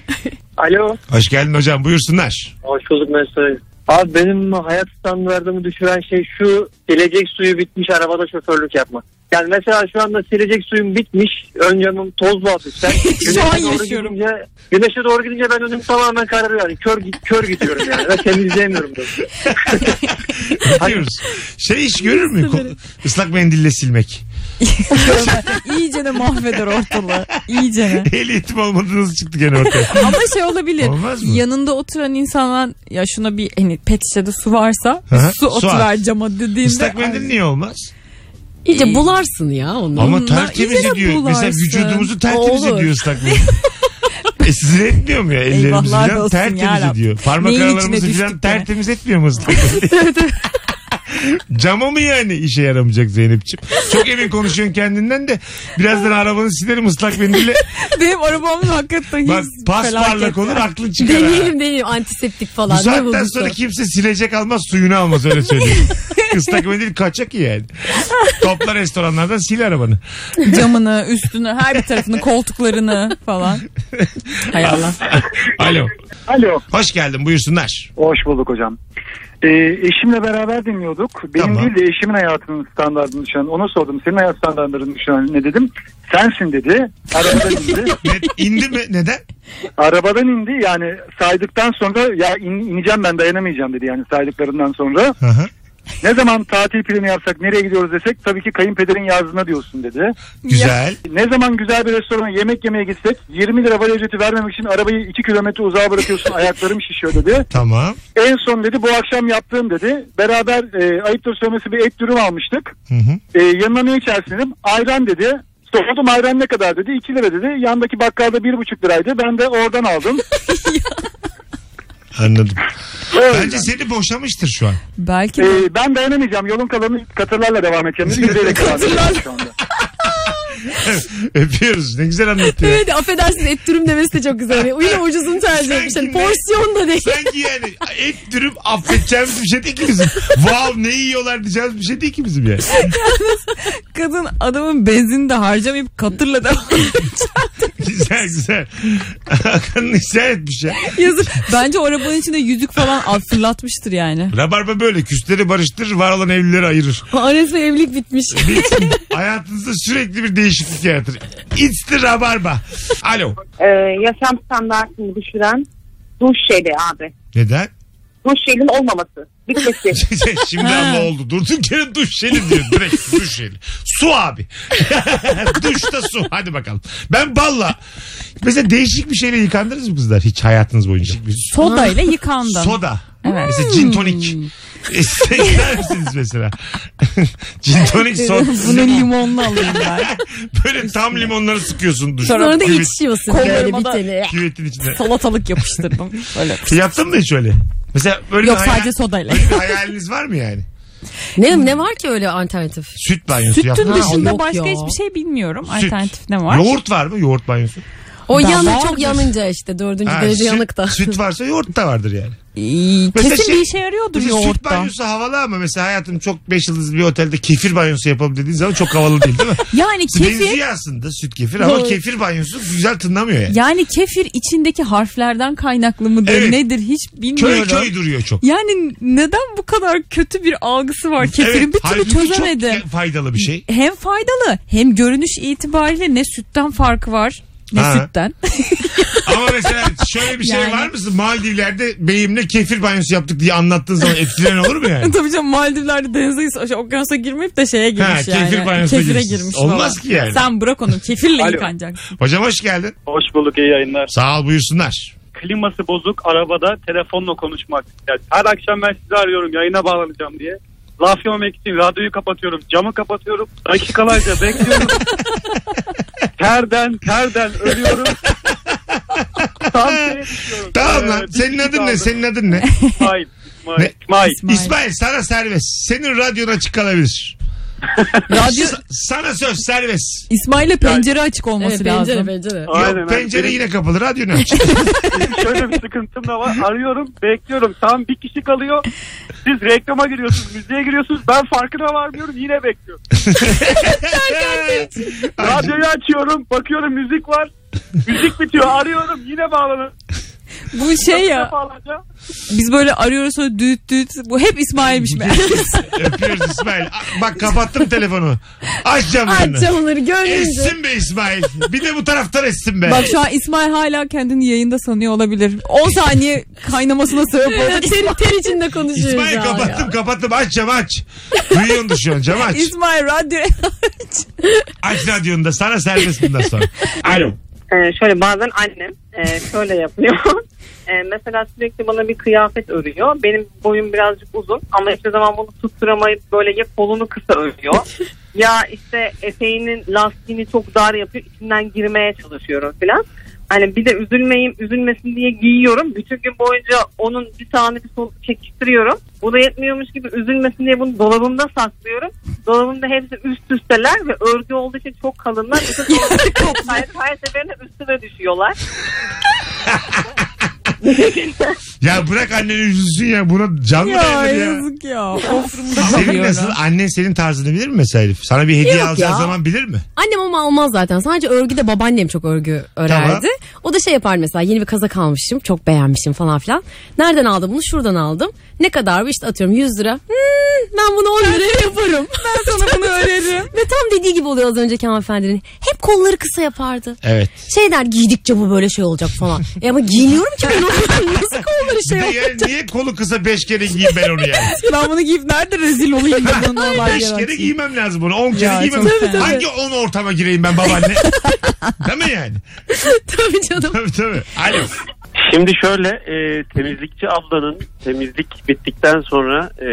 Speaker 6: Alo.
Speaker 2: Hoş geldin hocam buyursunlar.
Speaker 6: Hoş bulduk Mesut. Abi benim hayat standartımı düşüren şey şu silecek suyu bitmiş arabada şoförlük yapmak. Yani mesela şu anda silecek suyum bitmiş. Ön yanım tozlu hafiften.
Speaker 3: (laughs)
Speaker 6: Güneşe
Speaker 3: an
Speaker 6: doğru
Speaker 3: yaşıyorum.
Speaker 6: Gidince, güneşe doğru gidince ben önüm tamamen kararıyor. Yani kör, gi- kör gidiyorum yani. Ve temizleyemiyorum da.
Speaker 2: Öpüyoruz. Şey iş görür mü? Ko- Islak mendille silmek.
Speaker 3: İyicene mahveder ortalığı. İyicene.
Speaker 2: Ehliyetim olmadı nasıl çıktı gene ortaya?
Speaker 3: Ama şey olabilir.
Speaker 2: Olmaz mı?
Speaker 3: Yanında oturan insanlar ya şuna bir hani pet şişede su varsa
Speaker 2: Hı hı,
Speaker 3: su
Speaker 2: su
Speaker 3: atıver
Speaker 2: at.
Speaker 3: cama dediğimde.
Speaker 2: Islak mendil niye olmaz?
Speaker 4: İyice bularsın ya onu.
Speaker 2: Ama
Speaker 3: Onunla
Speaker 2: tertemiz
Speaker 3: iyice
Speaker 2: ediyor. Mesela
Speaker 3: bularsın.
Speaker 2: vücudumuzu tertemiz
Speaker 4: Olur.
Speaker 2: ediyor
Speaker 3: (laughs)
Speaker 2: ıslak mendil. E sizi etmiyor mu ya ellerimizi
Speaker 3: Eyvahlar
Speaker 2: falan
Speaker 3: olsun ya
Speaker 2: tertemiz
Speaker 3: Rabbim.
Speaker 2: ediyor. Parmak
Speaker 3: Neyin içine
Speaker 2: aralarımızı falan
Speaker 3: düştük ya?
Speaker 2: tertemiz etmiyor
Speaker 3: (laughs)
Speaker 2: mu ıslak mendil? Cama mı yani işe yaramayacak Zeynep'ciğim? Çok emin konuşuyorsun kendinden de. Birazdan arabanı silerim
Speaker 3: (laughs)
Speaker 2: ıslak mendille.
Speaker 3: Benim arabamın hakikaten
Speaker 2: Bak
Speaker 3: hiç
Speaker 2: pasparlak
Speaker 3: felaket
Speaker 2: olur
Speaker 3: ya.
Speaker 2: aklın çıkar. ha.
Speaker 4: Deneyelim deneyelim antiseptik
Speaker 2: Bu
Speaker 4: falan. ne
Speaker 2: saatten
Speaker 4: bulursa.
Speaker 2: sonra kimse silecek almaz suyunu almaz
Speaker 3: (laughs)
Speaker 2: öyle söyleyeyim. Islak mendil kaçak yani. Topla restoranlardan sil arabanı.
Speaker 3: Camını, üstünü, her bir tarafını, koltuklarını falan. Hay Allah.
Speaker 2: Alo.
Speaker 5: Alo.
Speaker 2: Hoş geldin buyursunlar.
Speaker 5: Hoş bulduk hocam. Ee, eşimle beraber dinliyorduk. Benim
Speaker 2: Tamam.
Speaker 5: değil de eşimin hayatının standartını düşünen. Ona sordum. Senin hayat standartını düşünen ne dedim? Sensin dedi. Arabadan indi.
Speaker 2: Ne, indi mi? Neden?
Speaker 5: Arabadan indi. Yani saydıktan sonra ya in- ineceğim ben dayanamayacağım dedi. Yani saydıklarından sonra.
Speaker 2: Hı hı.
Speaker 5: Ne zaman tatil planı yapsak nereye gidiyoruz desek tabii ki kayınpederin yazına diyorsun dedi.
Speaker 2: Güzel.
Speaker 5: Ne zaman güzel bir restorana yemek yemeye gitsek 20 lira para ücreti vermemek için arabayı 2 kilometre uzağa bırakıyorsun ayaklarım şişiyor dedi.
Speaker 2: Tamam.
Speaker 5: En son dedi bu akşam yaptığım dedi. Beraber e, ayıptır söylemesi bir et dürüm almıştık.
Speaker 2: Hı hı.
Speaker 5: E, yanına ne içersin dedim. Ayran dedi. Sordum ayran ne kadar dedi. 2 lira dedi. Yandaki bakkalda 1,5 liraydı. Ben de oradan aldım.
Speaker 2: Anladım.
Speaker 5: Öyle.
Speaker 2: Bence seni boşamıştır şu an.
Speaker 3: Belki de.
Speaker 5: E, ben dayanamayacağım. Yolun kalanını katırlarla devam edeceğim. dedi. Yürüyerek devam edeceğim şu anda.
Speaker 2: Öpüyoruz. Ne güzel anlattı ya.
Speaker 4: Evet affedersiniz et dürüm demesi de çok güzel. Yani yine ucuzunu tercih etmiş. Hani porsiyon da değil.
Speaker 2: Sanki yani et dürüm affedeceğimiz bir şey değil ki bizim. Wow ne yiyorlar diyeceğimiz bir şey değil ki bizim yani. (laughs)
Speaker 3: Kadın adamın benzinini de harcamayıp katırla da (laughs)
Speaker 2: Güzel güzel. Hakan'ın isyan etmiş ya.
Speaker 3: yazık. Bence o arabanın içinde yüzük falan at- fırlatmıştır yani.
Speaker 2: Rabarba böyle küsleri barıştırır var olan evlileri ayırır.
Speaker 4: Ha, Resmen evlilik bitmiş.
Speaker 2: Hayatınızda sürekli bir değişiklik yaratır. It's the Rabarba. Alo.
Speaker 10: Ee, yaşam standartını düşüren duş jeli abi.
Speaker 2: Neden?
Speaker 10: Duş jelin olmaması. Bitmesi.
Speaker 2: (laughs) Şimdi ama oldu. Durduk yere duş jeli diyor. Direkt duş jeli. Su abi. (laughs) Duşta su. Hadi bakalım. Ben balla. Mesela değişik bir şeyle yıkandınız mı kızlar hiç hayatınız boyunca?
Speaker 3: Soda ile yıkandım.
Speaker 2: Soda.
Speaker 3: Evet. Hmm.
Speaker 2: Mesela gin tonik. İster misiniz mesela? (laughs) gin tonik son.
Speaker 3: Bunu limonlu alayım ben.
Speaker 2: (laughs) Böyle tam limonları sıkıyorsun. Duş.
Speaker 4: Sonra da
Speaker 2: küvet-
Speaker 4: içiyorsun
Speaker 3: Kollarıma
Speaker 4: böyle bir
Speaker 3: da-
Speaker 4: tane.
Speaker 2: Küvetin içinde.
Speaker 3: Salatalık yapıştırdım. Böyle.
Speaker 2: Yaptın mı hiç öyle? Mesela böyle
Speaker 3: Yok
Speaker 2: bir hayal-
Speaker 3: sadece sodayla.
Speaker 2: böyle bir hayaliniz var mı yani?
Speaker 4: Ne, ne var ki öyle alternatif?
Speaker 2: Süt banyosu yaptın
Speaker 3: Sütün
Speaker 2: mı?
Speaker 3: dışında
Speaker 4: yok
Speaker 3: başka
Speaker 4: ya.
Speaker 3: hiçbir şey bilmiyorum.
Speaker 2: Süt.
Speaker 3: Alternatif ne var?
Speaker 2: Yoğurt var mı? Yoğurt banyosu.
Speaker 4: O
Speaker 3: Ben-
Speaker 4: yanı
Speaker 3: Vardır.
Speaker 4: çok yanınca işte dördüncü
Speaker 2: Ha,
Speaker 4: derece
Speaker 2: süt-
Speaker 4: yanık da.
Speaker 2: Süt varsa yoğurt da vardır yani.
Speaker 3: İyi,
Speaker 2: Mesela
Speaker 3: Kesin bir
Speaker 2: şey-
Speaker 3: işe yarıyordur
Speaker 2: Mesela Süt
Speaker 3: yoğurtta.
Speaker 2: banyosu havalı ama mesela hayatım çok 5 yıldızlı bir otelde kefir banyosu yapalım dediğin zaman çok havalı değil
Speaker 3: (laughs)
Speaker 2: değil mi?
Speaker 3: Yani kefir
Speaker 2: Benziyor aslında süt kefir ama
Speaker 3: Doğru.
Speaker 2: kefir banyosu güzel tınlamıyor yani.
Speaker 3: yani kefir içindeki harflerden kaynaklı mıdır
Speaker 2: Evet.
Speaker 3: nedir hiç bilmiyorum.
Speaker 2: köy köy duruyor çok.
Speaker 3: Yani neden bu kadar kötü bir algısı var kefirin? bir türlü
Speaker 2: halbuki
Speaker 3: çözemedim.
Speaker 2: Çok faydalı bir şey.
Speaker 3: Hem faydalı hem görünüş itibariyle ne sütten farkı var ne
Speaker 2: Ha.
Speaker 3: sütten.
Speaker 2: Ama mesela şöyle bir şey
Speaker 3: Yani.
Speaker 2: var mısın? Maldivler'de beyimle kefir banyosu yaptık diye anlattığın zaman etkilen olur
Speaker 3: (laughs)
Speaker 2: mu yani?
Speaker 3: Tabii canım Maldivler'de denize aşağı okyanusa girmeyip de şeye girmiş
Speaker 2: Ha,
Speaker 3: yani.
Speaker 2: kefir banyosuna
Speaker 3: Kefire
Speaker 2: girmiş.
Speaker 3: girmiş.
Speaker 2: Olmaz
Speaker 3: falan.
Speaker 2: ki yani.
Speaker 3: Sen bırak onu kefirle
Speaker 8: Alo.
Speaker 3: yıkanacaksın.
Speaker 2: Hocam hoş geldin.
Speaker 8: Hoş bulduk iyi yayınlar.
Speaker 2: Sağ ol buyursunlar.
Speaker 8: Kliması bozuk arabada telefonla konuşmak. Yani her akşam ben sizi arıyorum yayına bağlanacağım diye. Laf yememek için radyoyu kapatıyorum, camı kapatıyorum. Dakikalarca
Speaker 2: (laughs)
Speaker 8: bekliyorum. terden, terden ölüyorum.
Speaker 2: (laughs)
Speaker 8: Tam şeye düşüyorum.
Speaker 2: Tamam
Speaker 8: Ee,
Speaker 2: lan.
Speaker 8: bir
Speaker 2: Senin
Speaker 8: kişi
Speaker 2: adın ne?
Speaker 8: kaldı.
Speaker 2: Senin adın ne?
Speaker 8: İsmail.
Speaker 2: Ne?
Speaker 8: İsmail. İsmail.
Speaker 3: İsmail.
Speaker 2: İsmail sana serbest. Senin radyon açık kalabilir.
Speaker 3: Radyo
Speaker 2: Sa- sana söz serbest.
Speaker 3: İsmail'e pencere açık olması
Speaker 4: Evet, pencere
Speaker 3: lazım.
Speaker 4: pencere.
Speaker 8: Aynen,
Speaker 2: Yok
Speaker 8: aynen.
Speaker 2: pencere
Speaker 8: Benim-
Speaker 2: yine kapalı radyonu açık.
Speaker 8: Şöyle bir sıkıntım da var. Arıyorum, bekliyorum. Tam bir kişi kalıyor. Siz reklama giriyorsunuz, müziğe giriyorsunuz. Ben farkına varmıyorum, yine bekliyorum. Radyoyu açıyorum, bakıyorum müzik var. Müzik bitiyor, arıyorum, yine bağlanıyorum.
Speaker 3: Bu şey ya
Speaker 8: Defalarca.
Speaker 3: biz böyle arıyoruz sonra düt düt bu hep İsmail'miş
Speaker 2: (laughs)
Speaker 3: meğer.
Speaker 2: (laughs) Öpüyoruz İsmail. A- Bak kapattım telefonu. Aç camlarını.
Speaker 4: Aç
Speaker 3: (laughs)
Speaker 4: camları görünce.
Speaker 2: Essin be İsmail. Bir de bu taraftan essin be.
Speaker 3: Bak şu an İsmail hala kendini yayında sanıyor olabilir. 10 saniye kaynamasına
Speaker 4: (laughs)
Speaker 3: sebep oldu.
Speaker 4: Evet, ter, ter içinde konuşuyoruz
Speaker 2: İsmail
Speaker 4: ya.
Speaker 2: kapattım kapattım aç camı aç. Duyuyordur şu an camı aç.
Speaker 3: İsmail radyo.
Speaker 2: Aç radyonu da sana serbest bundan sonra. Alo.
Speaker 10: Ee, şöyle bazen annem e, şöyle yapıyor. (laughs) Ee, mesela sürekli bana bir kıyafet örüyor. Benim boyum birazcık uzun ama hiçbir zaman bunu tutturamayıp böyle ya kolunu kısa örüyor. ya işte eteğinin lastiğini çok dar yapıyor. İçinden girmeye çalışıyorum filan. Hani bir de üzülmeyeyim, üzülmesin diye giyiyorum. Bütün gün boyunca onun bir sağını bir solunu çekiştiriyorum. Bu da yetmiyormuş gibi üzülmesin diye bunu dolabımda saklıyorum. Dolabımda hepsi üst üsteler ve örgü olduğu için çok kalınlar. Bütün her, her seferinde üstüne düşüyorlar.
Speaker 2: Ya bırak anneni üzülsün ya buna can
Speaker 3: (laughs)
Speaker 2: mı
Speaker 3: ya
Speaker 2: dayanır ya?
Speaker 3: yazık ya. Of,
Speaker 2: Senin
Speaker 3: kalıyorum.
Speaker 2: nasıl annen senin tarzını bilir mi mesela Elif? Sana bir hediye
Speaker 4: Yok
Speaker 2: alacağı
Speaker 4: ya.
Speaker 2: zaman bilir mi?
Speaker 4: Annem ama almaz zaten. Sadece örgüde babaannem çok örgü örerdi. O da şey yapar mesela yeni bir kazak almışım. Çok beğenmişim falan filan. Nereden aldım bunu? Şuradan aldım. Ne kadar bu? İşte atıyorum 100 lira. Hmm, ben bunu 10 liraya yaparım. ben (laughs) sana bunu örerim. Ve tam dediği gibi oluyor az önceki hanımefendinin. Hep kolları kısa yapardı.
Speaker 2: Evet.
Speaker 4: Şey der giydikçe bu böyle şey olacak falan. e ama giyiniyorum ki ben onu. (laughs) Nasıl kolları şey
Speaker 2: Bir de yani niye kolu kısa beş kere giyeyim ben onu yani?
Speaker 3: (laughs) ben bunu giyip nerede rezil
Speaker 4: (laughs)
Speaker 3: olayım da bana olay
Speaker 2: Beş kere
Speaker 3: yaratsın.
Speaker 2: giymem lazım bunu. On kere
Speaker 3: Ya,
Speaker 2: giymem.
Speaker 3: çok Tabii, fena.
Speaker 2: Hangi on ortama gireyim ben babaanne? Değil mi yani?
Speaker 4: Tabii canım.
Speaker 2: Tabii tabii. Alo.
Speaker 11: Şimdi şöyle e, temizlikçi ablanın temizlik bittikten sonra e,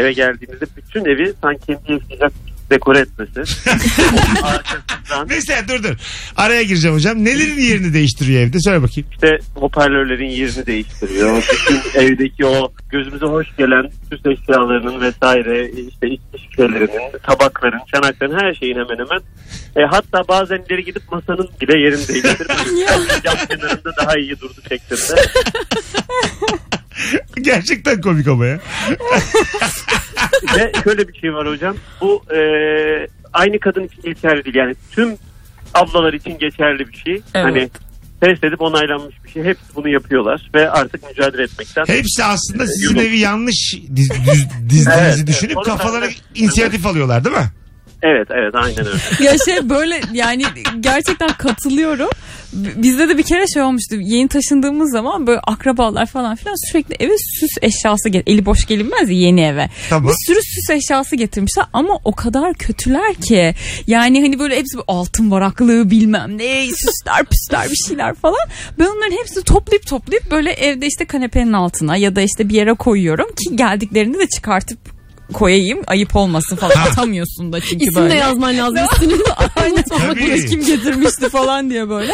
Speaker 11: eve geldiğimizde bütün evi sanki kendi yaşayacak dekore etmesi.
Speaker 3: (laughs)
Speaker 11: Arkasından
Speaker 2: Mesela dur dur. Araya gireceğim hocam. Nelerin yerini değiştiriyor evde? Söyle bakayım. (laughs)
Speaker 11: işte hoparlörlerin yerini değiştiriyor. Bütün evdeki o gözümüze hoş gelen süs eşyalarının vesaire işte içki şişelerinin, tabakların, çanakların her şeyin hemen hemen. E, hatta bazen ileri gidip masanın bile yerini değiştirmiyor. Cam kenarında daha iyi durdu şeklinde.
Speaker 2: Gerçekten komik ama ya.
Speaker 11: Ve şöyle bir şey var hocam. Bu e, aynı kadın için geçerli değil. Yani tüm ablalar için geçerli bir şey. Hani test edip onaylanmış bir şey. Hepsi bunu yapıyorlar ve artık mücadele etmekten.
Speaker 2: Hepsi aslında sizin
Speaker 11: Yürü.
Speaker 2: evi yanlış diz, diz- dizdiğinizi
Speaker 11: Ee, Evet,
Speaker 2: düşünüp
Speaker 11: evet.
Speaker 2: kafalara
Speaker 11: Onu-
Speaker 2: inisiyatif alıyorlar değil mi?
Speaker 11: Evet evet aynen öyle.
Speaker 3: Ya şey böyle yani gerçekten katılıyorum. b- bizde de bir kere şey olmuştu. Yeni taşındığımız zaman böyle akrabalar falan filan sürekli eve süs eşyası get eli boş gelinmez ya yeni eve.
Speaker 2: Tamam.
Speaker 3: Bir sürü süs eşyası getirmişler ama o kadar kötüler ki. Yani hani böyle hepsi böyle altın varaklığı bilmem ne süsler püsler bir şeyler falan. Ben onların hepsini toplayıp toplayıp böyle evde işte kanepenin altına ya da işte bir yere koyuyorum ki geldiklerinde de çıkartıp koyayım ayıp olmasın falan atamıyorsun da çünkü
Speaker 4: İsim
Speaker 3: böyle.
Speaker 4: de yazman lazım üstüne.
Speaker 3: (laughs) Aynen.
Speaker 2: Tabii.
Speaker 3: Kim getirmişti falan diye böyle.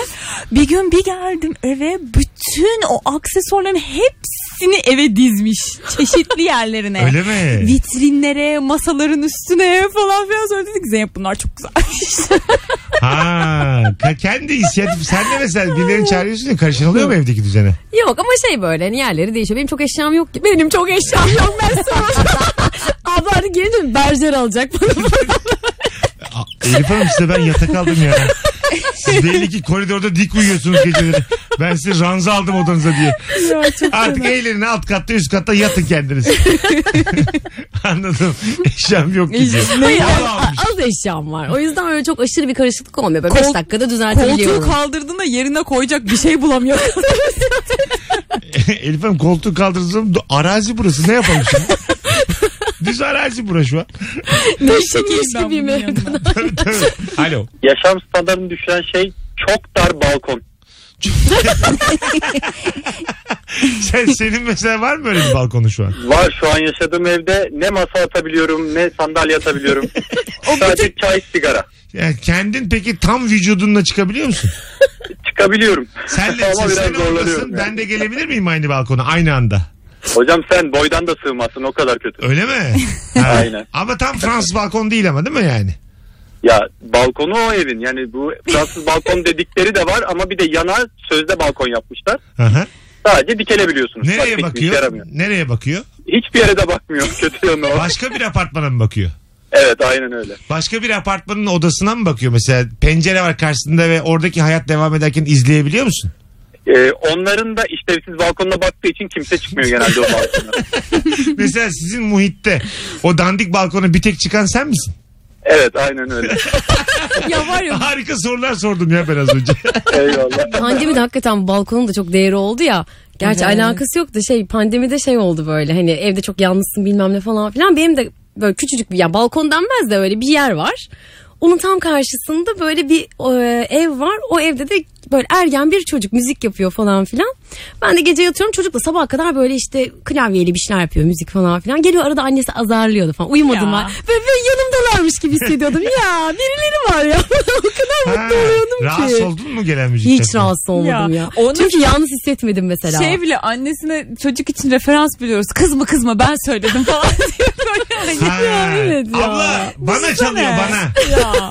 Speaker 3: Bir gün bir geldim eve bütün o aksesuarların hepsini eve dizmiş. Çeşitli yerlerine.
Speaker 2: Öyle mi?
Speaker 3: Vitrinlere, masaların üstüne falan filan sonra dedik Zeynep bunlar çok güzel. (laughs)
Speaker 2: Ha, ka- kendi inisiyatif. Sen de mesela birilerini çağırıyorsun ya karışan oluyor mu evdeki düzene?
Speaker 4: Yok ama şey böyle hani yerleri değişiyor. Benim çok eşyam yok ki. Benim çok eşyam yok ben
Speaker 3: (laughs)
Speaker 4: sonra. Abla hani gelince mi berjer alacak bana.
Speaker 2: Elif Hanım size ben yatak aldım ya. Siz belli ki koridorda dik uyuyorsunuz geceleri. Ben size ranza aldım odanıza diye. Artık eğlenin alt katta üst katta yatın kendiniz. (laughs) Anladım. Eşyam yok ki diyor.
Speaker 4: Hayır,
Speaker 2: Vallahi
Speaker 4: az-
Speaker 2: almış.
Speaker 4: az eşyam var. O yüzden öyle çok aşırı bir karışıklık olmuyor. Böyle
Speaker 3: Kol-
Speaker 4: 5 dakikada
Speaker 3: Koltuğu
Speaker 4: düzeltebiliyorum.
Speaker 3: kaldırdığında yerine koyacak bir şey bulamıyor.
Speaker 2: (laughs) Elif Hanım koltuğu kaldırdım. Arazi burası ne yapalım şimdi? (laughs) Düz arazi burası şu an.
Speaker 4: Değişikmiş gibiyim evde.
Speaker 2: Tabii, tabii. Alo.
Speaker 11: Yaşam standartını düşüren şey çok dar balkon.
Speaker 2: Sen, senin mesela var mı öyle bir balkonun şu an?
Speaker 11: Var şu an yaşadığım evde ne masa atabiliyorum ne sandalye atabiliyorum. Sadece çay sigara.
Speaker 2: Yani kendin peki tam vücudunla çıkabiliyor musun?
Speaker 11: (laughs) Çıkabiliyorum.
Speaker 2: Senle
Speaker 11: (laughs) Ama
Speaker 2: sen
Speaker 11: biraz
Speaker 2: olmasın
Speaker 11: zorlanıyorum.
Speaker 2: ben de gelebilir miyim aynı balkona aynı anda?
Speaker 11: Hocam sen boydan da sığmazsın o kadar kötü.
Speaker 2: Öyle mi?
Speaker 11: (laughs)
Speaker 2: Ha.
Speaker 11: Aynen.
Speaker 2: Ama tam Fransız balkon değil ama değil mi yani?
Speaker 11: Ya balkonu o evin yani bu Fransız balkon dedikleri de var ama bir de yana sözde balkon yapmışlar.
Speaker 2: Aha.
Speaker 11: Sadece dikelebiliyorsunuz. Başka
Speaker 2: Nereye
Speaker 11: hiçbir işe
Speaker 2: bakıyor?
Speaker 11: yaramıyor.
Speaker 2: Nereye bakıyor?
Speaker 11: Hiçbir yere
Speaker 2: (laughs)
Speaker 11: de bakmıyor kötü yanı o.
Speaker 2: Başka bir apartmana mı bakıyor?
Speaker 11: Evet aynen öyle.
Speaker 2: Başka bir apartmanın odasına mı bakıyor mesela? Pencere var karşısında ve oradaki hayat devam ederken izleyebiliyor
Speaker 11: (laughs)
Speaker 2: musun?
Speaker 11: Ee, onların da işlevsiz balkonuna baktığı için kimse çıkmıyor genelde o balkona.
Speaker 2: (laughs) mesela sizin muhitte o dandik balkona bir tek çıkan sen
Speaker 11: (laughs)
Speaker 2: misin?
Speaker 11: Evet
Speaker 2: (laughs)
Speaker 11: aynen öyle.
Speaker 3: ya var ya
Speaker 2: Harika sorular sordum ya ben az önce.
Speaker 11: Eyvallah.
Speaker 4: Pandemi de hakikaten balkonun da çok değeri oldu ya. Gerçi alakası yok da şey pandemide şey oldu böyle hani evde çok yalnızsın bilmem ne falan filan. Benim de böyle küçücük bir ya balkon denmez de öyle bir yer var. Onun tam karşısında böyle bir e, ev var. O evde de böyle ergen bir çocuk müzik yapıyor falan filan. Ben de gece yatıyorum çocukla sabaha kadar böyle işte klavyeli bir şeyler yapıyor müzik falan filan. Geliyor arada annesi azarlıyordu falan.
Speaker 3: Ya.
Speaker 4: Uyumadım ben. Böyle, böyle yanımdalarmış gibi hissediyordum. ya birileri var ya. (laughs) o kadar
Speaker 2: Ha,
Speaker 4: mutlu oluyordum ki.
Speaker 2: rahatsız oldun mu gelen müzikten?
Speaker 4: Hiç rahatsız olmadım
Speaker 3: Ya,
Speaker 4: ya.
Speaker 3: onu-
Speaker 4: Çünkü yalnız hissetmedim mesela.
Speaker 3: şey bile annesine çocuk için referans biliyoruz. Kızma kızma ben söyledim (laughs) falan diye böyle.
Speaker 2: Ha,
Speaker 4: evet ya.
Speaker 2: Abla bana
Speaker 3: Düşünsene.
Speaker 2: çalıyor bana.
Speaker 3: Ya.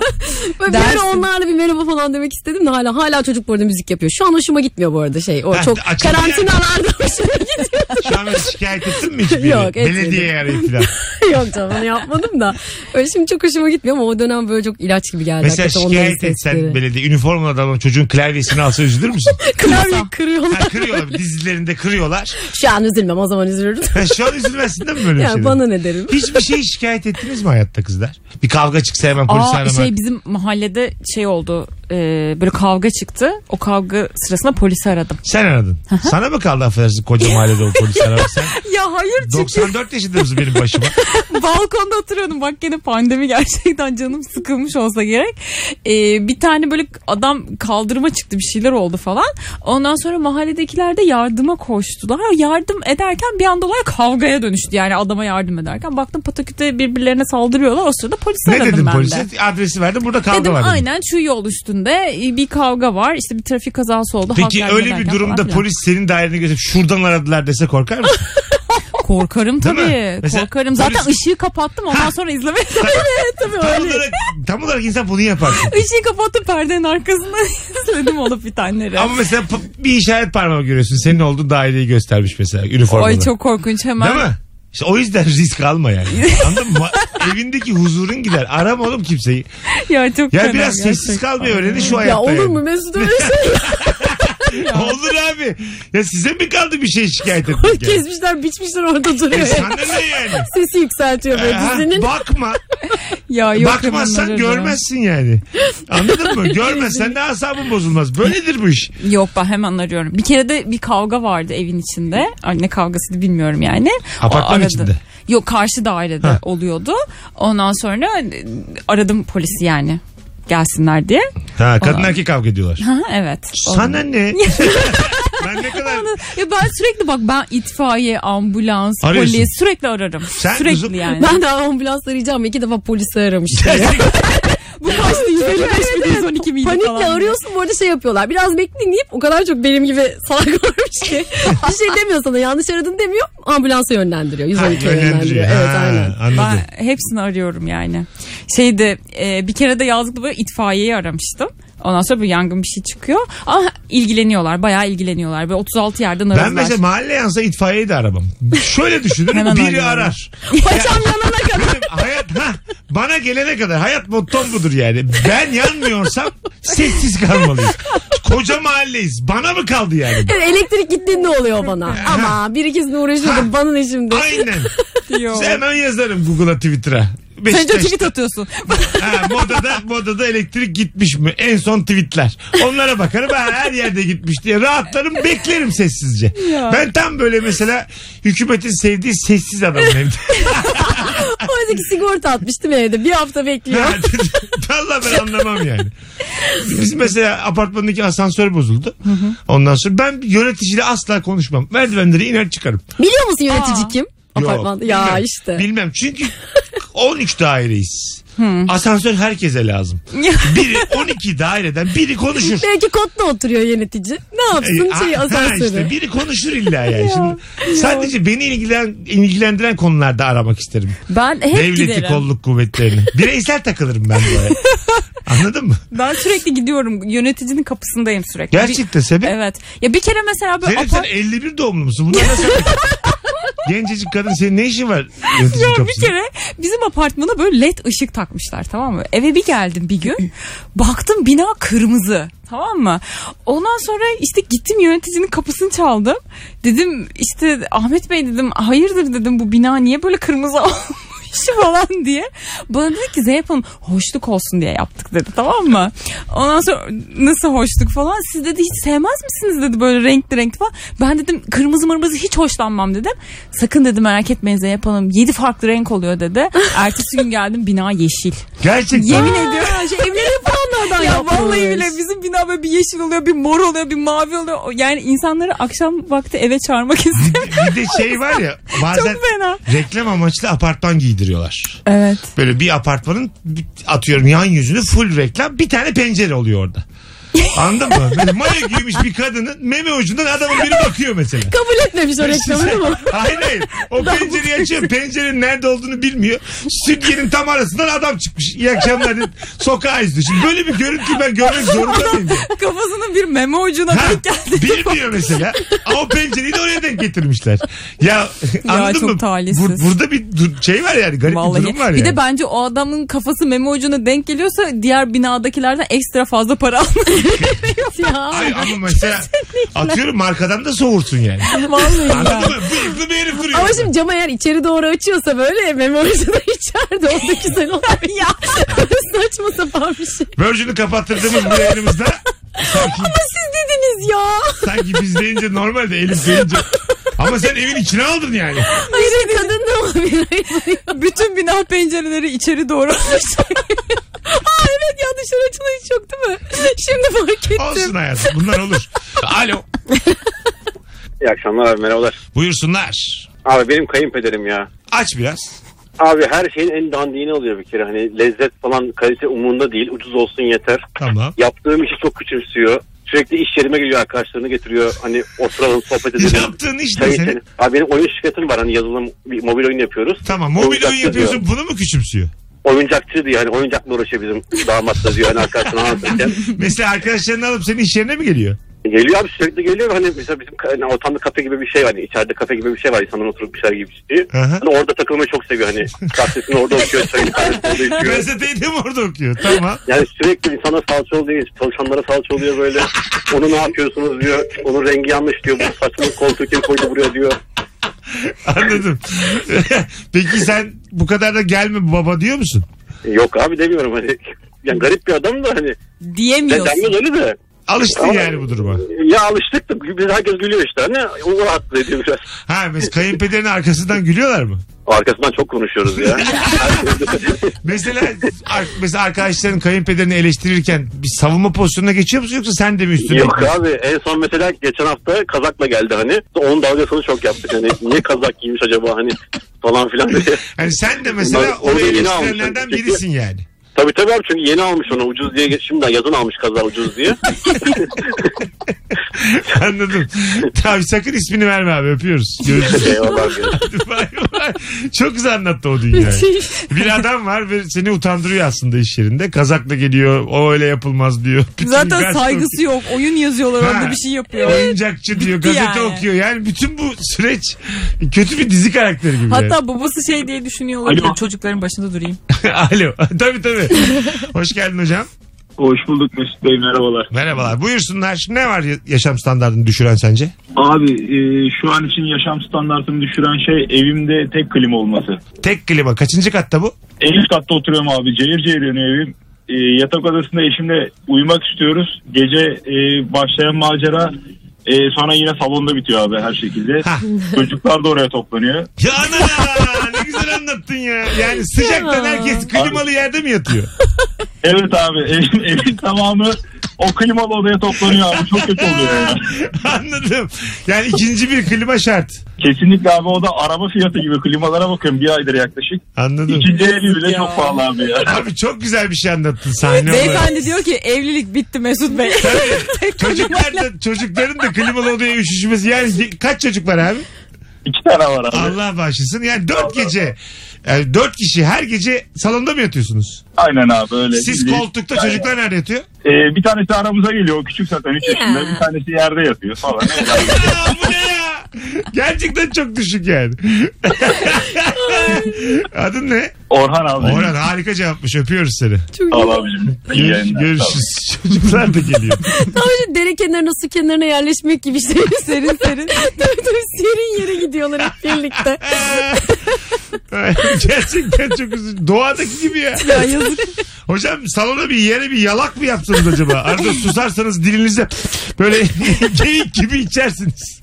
Speaker 4: Böyle bir ara
Speaker 3: dersin.
Speaker 4: onlarla bir merhaba falan demek istedim de hala hala çocuk bu arada müzik yapıyor. Şu an hoşuma gitmiyor bu arada şey. O
Speaker 2: Ha,
Speaker 4: çok
Speaker 2: açıldı
Speaker 4: karantinalarda (laughs) hoşuma gidiyor.
Speaker 2: Şu an şikayet ettin mi hiçbir yere?
Speaker 4: Yok, etmedim.
Speaker 2: Belediyeye arayıp falan.
Speaker 4: Yok canım onu yapmadım da. Öyle şimdi çok hoşuma gitmiyor ama o dönem böyle çok ilaç gibi geldi.
Speaker 2: Mesela
Speaker 4: hakikaten onların
Speaker 2: şikayet etsen
Speaker 4: sesleri. (laughs)
Speaker 2: belediye üniformalı adamın çocuğun klavyesini alsa üzülür müsün?
Speaker 4: Klavyeyi kırıyorlar.
Speaker 2: Ha, kırıyorlar dizlerinde kırıyorlar.
Speaker 4: Şu an üzülmem o zaman üzülürüm.
Speaker 2: Ha, şu an üzülmezsin değil mi böyle bir
Speaker 4: yani
Speaker 2: şeyden?
Speaker 4: bana ne derim.
Speaker 2: Hiçbir şey şikayet ettiniz mi hayatta kızlar? Bir kavga çıksa hemen polise
Speaker 3: Aa,
Speaker 2: aramak.
Speaker 3: şey bizim mahallede şey oldu e, böyle kavga çıktı. O kavga sırasında polisi aradım.
Speaker 2: Sen aradın. Sana mı kaldı affedersin koca mahallede o polis aramak?
Speaker 3: (laughs)
Speaker 2: Sen
Speaker 3: (laughs) Ya hayır çünkü
Speaker 2: 94 yaşında mısın benim başıma?
Speaker 3: (laughs) balkonda oturuyordum. Bak gene pandemi gerçekten canım sıkılmış olsa gerek. E, bir tane böyle adam kaldırıma çıktı bir şeyler oldu falan. Ondan sonra mahalledekiler de yardıma koştular. Yardım ederken bir anda olay kavgaya dönüştü. Yani adama yardım ederken. Baktım pataküte birbirlerine saldırıyorlar. O sırada polisi
Speaker 2: ne
Speaker 3: aradım
Speaker 2: dedim
Speaker 3: ben de.
Speaker 2: polise? Adresi verdim burada kavga
Speaker 3: Dedim
Speaker 2: var. dedim.
Speaker 3: aynen şu yol üstünde e, bir kavga var. İşte bir trafik kazası oldu. Halk
Speaker 2: Peki
Speaker 3: yardım
Speaker 2: öyle bir
Speaker 3: ederken
Speaker 2: durumda
Speaker 3: falan filan.
Speaker 2: polis senin daireni götürüp şuradan aradılar dese korkar mısın?
Speaker 3: Korkarım
Speaker 2: Değil mi?
Speaker 3: tabii.
Speaker 2: Mesela
Speaker 3: Korkarım. Zaten
Speaker 2: polis-
Speaker 3: ışığı kapattım ondan sonra izlemeye (laughs) Evet (laughs)
Speaker 2: (laughs)
Speaker 3: tabii
Speaker 2: tam,
Speaker 3: öyle.
Speaker 2: olarak, tam olarak insan bunu yapar.
Speaker 3: (laughs) Işığı kapattım perdenin arkasından (laughs) izledim olup bir taneleri.
Speaker 2: Ama mesela p- bir işaret parmağı görüyorsun. Senin olduğun daireyi göstermiş mesela üniformalı.
Speaker 3: Ay çok korkunç hemen.
Speaker 2: Değil mi? İşte o yüzden (laughs) risk
Speaker 3: (laughs)
Speaker 2: alma yani. Anladın mı? Evindeki huzurun gider. Arama oğlum kimseyi.
Speaker 3: Ya çok
Speaker 2: Ya
Speaker 3: fena
Speaker 2: biraz sessiz
Speaker 3: gerçekten.
Speaker 2: kalmayı öğrenin şu hayatta. (laughs)
Speaker 4: Ya olur
Speaker 2: yani.
Speaker 4: mu Mesut öyle şey?
Speaker 2: (laughs) Olur abi. Ya size mi kaldı bir şey şikayet etmek?
Speaker 3: (laughs)
Speaker 2: yani?
Speaker 4: Kesmişler biçmişler orada duruyor.
Speaker 2: E sana ne yani?
Speaker 4: Sesi yükseltiyor böyle
Speaker 2: Ha,
Speaker 4: dizinin.
Speaker 2: bakma.
Speaker 3: Ya yok
Speaker 2: Bakmazsan
Speaker 3: hemen
Speaker 2: görmezsin yani. Anladın mı? Görmezsen de asabın bozulmaz. Böyledir bu iş.
Speaker 3: arıyorum. Yok ben hemen arıyorum. Bir kere de bir kavga vardı evin içinde. Ay, ne kavgasıydı bilmiyorum yani. O
Speaker 2: Apartman içinde.
Speaker 3: Yok karşı dairede
Speaker 2: Ha.
Speaker 3: oluyordu. Ondan sonra e, aradım polisi yani gelsinler diye.
Speaker 2: Ha, kadın erkek kavga ediyorlar.
Speaker 3: Ha, evet.
Speaker 2: Sana ne? ben ne kadar...
Speaker 3: Ya ben sürekli bak ben itfaiye, ambulans,
Speaker 2: Arıyorsun.
Speaker 3: polis sürekli ararım.
Speaker 2: Sen
Speaker 3: sürekli
Speaker 2: kızım-
Speaker 3: yani.
Speaker 4: Ben daha ambulans arayacağım. iki defa polisi (laughs) aramıştım.
Speaker 3: bu kaçtı 155 mi 112 miydi
Speaker 4: Panikle
Speaker 3: falan. diye.
Speaker 4: arıyorsun bu arada şey yapıyorlar. Biraz bekleyin deyip o kadar çok benim gibi salak (laughs) varmış ki. bir şey demiyor sana yanlış aradın demiyor. Ambulansa yönlendiriyor. 112'ye yönlendiriyor. Evet
Speaker 2: Ha, (laughs)
Speaker 4: aynen.
Speaker 2: Anladım.
Speaker 3: Ben hepsini arıyorum yani. Şeyde e, bir kere de yazlıkta böyle itfaiyeyi aramıştım. Ondan sonra bir yangın bir şey çıkıyor. Ama ilgileniyorlar bayağı ilgileniyorlar. Böyle 36 yerden aradılar.
Speaker 2: Ben mesela mahalle yansa itfaiyeyi de aramam. Şöyle düşünürüm
Speaker 3: Hemen
Speaker 2: biri
Speaker 3: arıyorum.
Speaker 2: arar.
Speaker 4: Paçam yanana kadar.
Speaker 2: Benim hayat ha, bana gelene kadar hayat mottom budur yani. Ben yanmıyorsam sessiz kalmalıyız. Koca mahalleyiz. Bana mı kaldı yani? bu?
Speaker 4: Elektrik gittiğinde oluyor bana. Ama bir ikisini uğraşıyordum. Bana ne şimdi?
Speaker 2: Aynen.
Speaker 3: Diyor.
Speaker 2: Hemen yazarım Google'a Twitter'a.
Speaker 3: Sen de
Speaker 2: Beşiktaş-
Speaker 3: tweet atıyorsun.
Speaker 2: Ha, modada, modada elektrik gitmiş mi? En son tweetler. Onlara bakarım ha, her yerde gitmiş diye rahatlarım beklerim sessizce. Ben tam böyle mesela hükümetin sevdiği sessiz adamım. evde.
Speaker 4: Oradaki sigorta atmıştım evde. Bir hafta bekliyor.
Speaker 2: Ya, Valla ben anlamam yani. Biz mesela apartmandaki asansör bozuldu. Ondan sonra ben yöneticiyle asla konuşmam. Merdivenlere iner çıkarım.
Speaker 4: Biliyor musun yönetici
Speaker 3: Aa.
Speaker 4: kim?
Speaker 2: Yok,
Speaker 4: Apartmanda. Ya
Speaker 2: bilmem.
Speaker 4: işte.
Speaker 2: Bilmem çünkü 13 daireyiz. Asansör herkese lazım. Biri 12 daireden
Speaker 4: (laughs)
Speaker 2: biri konuşur.
Speaker 4: Belki kodda oturuyor yönetici. Ne yapsın
Speaker 2: Ee,
Speaker 4: şeyi
Speaker 2: ha- ha
Speaker 4: asansörü.
Speaker 2: işte biri konuşur
Speaker 3: (laughs)
Speaker 2: illa yani. Şimdi sadece beni ilgilen, ilgilendiren konularda aramak isterim.
Speaker 3: (laughs) Ben hep
Speaker 2: Devleti,
Speaker 3: giderim.
Speaker 2: kolluk kuvvetlerini. Bireysel takılırım ben buraya. Anladın mı?
Speaker 3: Ben sürekli gidiyorum. Yöneticinin kapısındayım sürekli.
Speaker 2: Gerçekten sebep.
Speaker 3: Bir- evet. Ya bir kere mesela böyle
Speaker 2: Zeynep sen
Speaker 3: apart-
Speaker 2: 51 doğumlu musun? Bunlar nasıl? Gencecik kadın senin ne işin var yöneticinin
Speaker 3: Ya bir
Speaker 2: kapısında?
Speaker 3: kere bizim apartmana böyle led ışık takmışlar tamam mı? Eve bir geldim bir (laughs) gün. Baktım bina kırmızı. Tamam mı? Ondan sonra işte gittim yöneticinin kapısını çaldım. Dedim işte Ahmet Bey dedim hayırdır dedim bu bina niye böyle kırmızı (laughs) olmuş falan diye. Bana dedi ki Zeynep Hanım hoşluk olsun diye yaptık dedi tamam mı? Ondan sonra nasıl hoşluk falan. Siz dedi hiç sevmez misiniz dedi böyle renkli renkli falan. Ben dedim kırmızı mırmızı hiç hoşlanmam dedim. Sakın dedi merak etmeyin Zeynep Hanım 7 farklı renk oluyor dedi. Ertesi gün geldim bina yeşil.
Speaker 2: Gerçekten.
Speaker 3: Yemin ediyorum.
Speaker 4: Ha, şey, evleri hep onlardan
Speaker 3: Ya
Speaker 4: yapılmış.
Speaker 3: vallahi bile bizim bina böyle bir yeşil oluyor, bir mor oluyor, bir mavi oluyor. O- Yani insanları akşam vakti eve çağırmak (laughs) istemiyorum.
Speaker 2: Bir de şey var ya bazen
Speaker 3: Çok fena.
Speaker 2: reklam amaçlı apartman giydiriyorlar.
Speaker 3: Evet.
Speaker 2: Böyle bir apartmanın atıyorum yan yüzünü full reklam bir tane pencere oluyor orada. Anladın mı? Böyle mayo giymiş bir kadının meme ucundan adamın biri bakıyor mesela.
Speaker 4: Kabul etmemiş o reklamı değil mi?
Speaker 2: hayır hayır. O pencereyi açıyor. Pencerenin nerede olduğunu bilmiyor. Sütyenin tam arasından adam çıkmış. İyi akşamlar dedi. Sokağa izliyor. Şimdi böyle bir görüntü ben görmek zorunda mıyım?
Speaker 3: Kafasının bir meme ucuna
Speaker 2: Ha,
Speaker 3: denk geldi.
Speaker 2: bilmiyor mesela. Ama o pencereyi de oraya denk getirmişler. Ya, anladın
Speaker 3: çok
Speaker 2: mı?
Speaker 3: talihsiz.
Speaker 2: burada bir du- şey var yani garip bir
Speaker 3: Vallahi.
Speaker 2: durum var
Speaker 3: Bir
Speaker 2: yani.
Speaker 3: de bence o adamın kafası meme ucuna denk geliyorsa diğer binadakilerden ekstra fazla para (laughs) almış.
Speaker 4: ya.
Speaker 2: Ay, ama mesela atıyorum markadan da soğursun yani.
Speaker 3: Vallahi ya.
Speaker 2: Anladın mı? Bıyıklı bir herif duruyor.
Speaker 4: Ama şimdi camı eğer içeri doğru açıyorsa böyle memorisi de (laughs) içeride. O da (laughs) güzel olur. ya. Saçma sapan bir şey.
Speaker 2: Virgin'i kapattırdığımız bu yayınımızda sanki,
Speaker 4: Siz dediniz ya.
Speaker 2: sanki biz deyince normalde Elif deyince. Ama sen evin içine aldın yani.
Speaker 4: Hayır kadın da olabilir.
Speaker 3: Bütün bina pencereleri içeri doğru
Speaker 4: (laughs)
Speaker 3: açmış. Aa evet ya dışarı açılan hiç yok değil mi?
Speaker 4: Şimdi fark ettim.
Speaker 2: Olsun hayatım bunlar olur. Alo.
Speaker 11: İyi akşamlar abi merhabalar.
Speaker 2: Buyursunlar.
Speaker 11: Abi benim kayınpederim ya.
Speaker 2: Aç biraz.
Speaker 11: Abi her şeyin en dandini oluyor bir kere. Hani lezzet falan kalite umurunda değil. Ucuz olsun yeter.
Speaker 2: Tamam.
Speaker 11: Yaptığım işi çok küçümsüyor. Sürekli iş yerime geliyor arkadaşlarını getiriyor. Hani oturalım sohbet edelim.
Speaker 2: Yaptığın iş
Speaker 11: Çay
Speaker 2: ne
Speaker 11: içelim.
Speaker 2: senin?
Speaker 11: Abi benim oyun şirketim var. Hani yazılım bir mobil oyun yapıyoruz.
Speaker 2: Tamam mobil oyun
Speaker 11: Oyuncakçı
Speaker 2: yapıyorsun
Speaker 11: diyor.
Speaker 2: bunu mu küçümsüyor?
Speaker 11: Oyuncakçı diyor.
Speaker 2: (laughs)
Speaker 11: Hani oyuncakla uğraşıyor bizim damat da diyor. Hani arkadaşını anlatırken.
Speaker 2: Mesela arkadaşlarını alıp senin iş yerine mi geliyor?
Speaker 12: Geliyor abi sürekli geliyor. Hani mesela bizim ka- hani ortamda kafe gibi bir şey var. Hani içeride kafe gibi bir şey var. İnsanlar oturup bir şeyler gibi içtiği.
Speaker 2: Aha.
Speaker 12: Hani orada takılmayı çok seviyor. Hani gazetesini orada okuyor. Çayını kahvesini orada
Speaker 2: (laughs)
Speaker 12: içiyor.
Speaker 2: Gazeteyi de mi orada okuyor? Tamam.
Speaker 12: Yani sürekli insana salça oluyor. Çalışanlara salça oluyor böyle. Onu ne yapıyorsunuz diyor. Onun rengi yanlış diyor. Bu saçını koltuğu kim koydu buraya diyor.
Speaker 2: Anladım. (laughs) Peki sen bu kadar da gelme baba diyor musun?
Speaker 12: E, Yok abi demiyorum hani. Yani garip bir adam da hani.
Speaker 3: Diyemiyorsun.
Speaker 12: Ya denmez öyle de.
Speaker 2: Alıştın
Speaker 12: Ama-
Speaker 2: yani bu duruma.
Speaker 12: Ya alıştık da biz herkes gülüyor işte. Hani o rahatsız ediyor biraz.
Speaker 2: Ha mesela kayınpederin arkasından gülüyorlar mı?
Speaker 12: Arkasından çok konuşuyoruz ya.
Speaker 2: Mesela ar- mesela arkadaşların kayınpederini eleştirirken bir savunma pozisyonuna geçiyor musun yoksa sen de mi üstüne?
Speaker 12: Yok
Speaker 2: gidiyorsun?
Speaker 12: abi en son mesela geçen hafta kazakla geldi hani. Onun dalgasını çok yaptık hani. Niye kazak giymiş acaba hani falan filan (laughs) diye.
Speaker 2: Yani sen de mesela
Speaker 12: Onu
Speaker 2: onu
Speaker 12: da yeni
Speaker 2: eleştirenlerden
Speaker 12: almışım.
Speaker 2: birisin yani. (laughs)
Speaker 12: Tabii tabii abi çünkü yeni almış onu ucuz diye. Şimdiden yazın almış kazağı ucuz diye.
Speaker 2: Anladım. Tabii sakın ismini verme abi öpüyoruz.
Speaker 12: (laughs)
Speaker 2: Görüşürüz.
Speaker 12: (laughs) Eyvallah abi.
Speaker 2: Bay bay. Çok güzel anlattı o dünyayı. Bir adam var ve seni utandırıyor aslında iş yerinde. Kazakla geliyor. O öyle yapılmaz diyor. Bütün
Speaker 3: Zaten
Speaker 2: gazete
Speaker 3: saygısı yok. Oyun yazıyorlar
Speaker 2: Ha.
Speaker 3: orada bir şey yapıyor.
Speaker 2: Oyuncakçı diyor,
Speaker 3: Bitti
Speaker 2: gazete
Speaker 3: yani.
Speaker 2: okuyor. Yani bütün bu süreç kötü bir dizi karakteri gibi.
Speaker 3: Hatta babası şey diye düşünüyor olabilir.
Speaker 2: Alo.
Speaker 3: Çocukların başında durayım.
Speaker 2: yani. (laughs) Alo. (laughs) tabii tabii. Hoş geldin hocam.
Speaker 13: Hoş bulduk Mesut Bey merhabalar.
Speaker 2: Merhabalar. Buyursunlar. Ne var ya- yaşam standartını düşüren sence?
Speaker 13: Abi e, şu an için yaşam standartımı düşüren şey evimde tek klima olması.
Speaker 2: Tek klima. Kaçıncı katta bu?
Speaker 13: En üst katta oturuyorum abi cayır cayır yanıyor evim. E, yatak odasında eşimle uyumak istiyoruz. Gece e, başlayan macera e, sonra yine salonda bitiyor abi her şekilde. Çocuklar da oraya toplanıyor.
Speaker 2: Ya ana ne güzel anlattın ya. Yani sıcaktan herkes klimalı yerde mi yatıyor? (laughs)
Speaker 13: Evet abi evin, evin tamamı o klimalı odaya toplanıyor abi. Çok kötü oluyor yani.
Speaker 2: Anladım. Yani ikinci bir klima şart.
Speaker 13: Kesinlikle abi o da araba fiyatı gibi klimalara bakıyorum bir aydır yaklaşık.
Speaker 2: Anladım.
Speaker 13: İkinci eli bile çok pahalı abi ya. (laughs)
Speaker 2: Abi çok güzel bir şey anlattın sahne olarak.
Speaker 3: Beyefendi diyor ki evlilik bitti Mesut Bey. (laughs)
Speaker 2: Çocuklar da, çocukların da klimalı odaya üşüşmesi. Yani ye- kaç çocuk var abi?
Speaker 13: İki tane var abi.
Speaker 2: Allah bağışlasın. Yani dört gece. Yani dört kişi her gece salonda mı yatıyorsunuz?
Speaker 13: Aynen abi öyle.
Speaker 2: Siz
Speaker 13: Bildiğin-
Speaker 2: koltukta
Speaker 13: Aynen.
Speaker 2: çocuklar nerede yatıyor?
Speaker 13: Ee, bir tanesi aramıza geliyor o küçük zaten 3 yaşında. Bir tanesi yerde yatıyor
Speaker 2: (laughs)
Speaker 13: falan.
Speaker 2: Gerçekten çok düşük yani. Adın ne?
Speaker 13: Orhan abi.
Speaker 2: Orhan harika cevapmış. Öpüyoruz seni.
Speaker 4: Çok
Speaker 13: Al abicim.
Speaker 2: Gör- görüşürüz. Çocuklar da geliyor.
Speaker 4: Tam şu dere kenarına su kenarına yerleşmek gibi işte serin serin. (laughs) Tabii tabii serin yere gidiyorlar hep (laughs) birlikte.
Speaker 2: (laughs) Gerçekten çok üzücü. Doğadaki gibi ya.
Speaker 4: Ya yazık.
Speaker 2: Hocam salona bir yere bir yalak mı yaptınız acaba? Arada susarsanız dilinize böyle (laughs) geyik gibi içersiniz.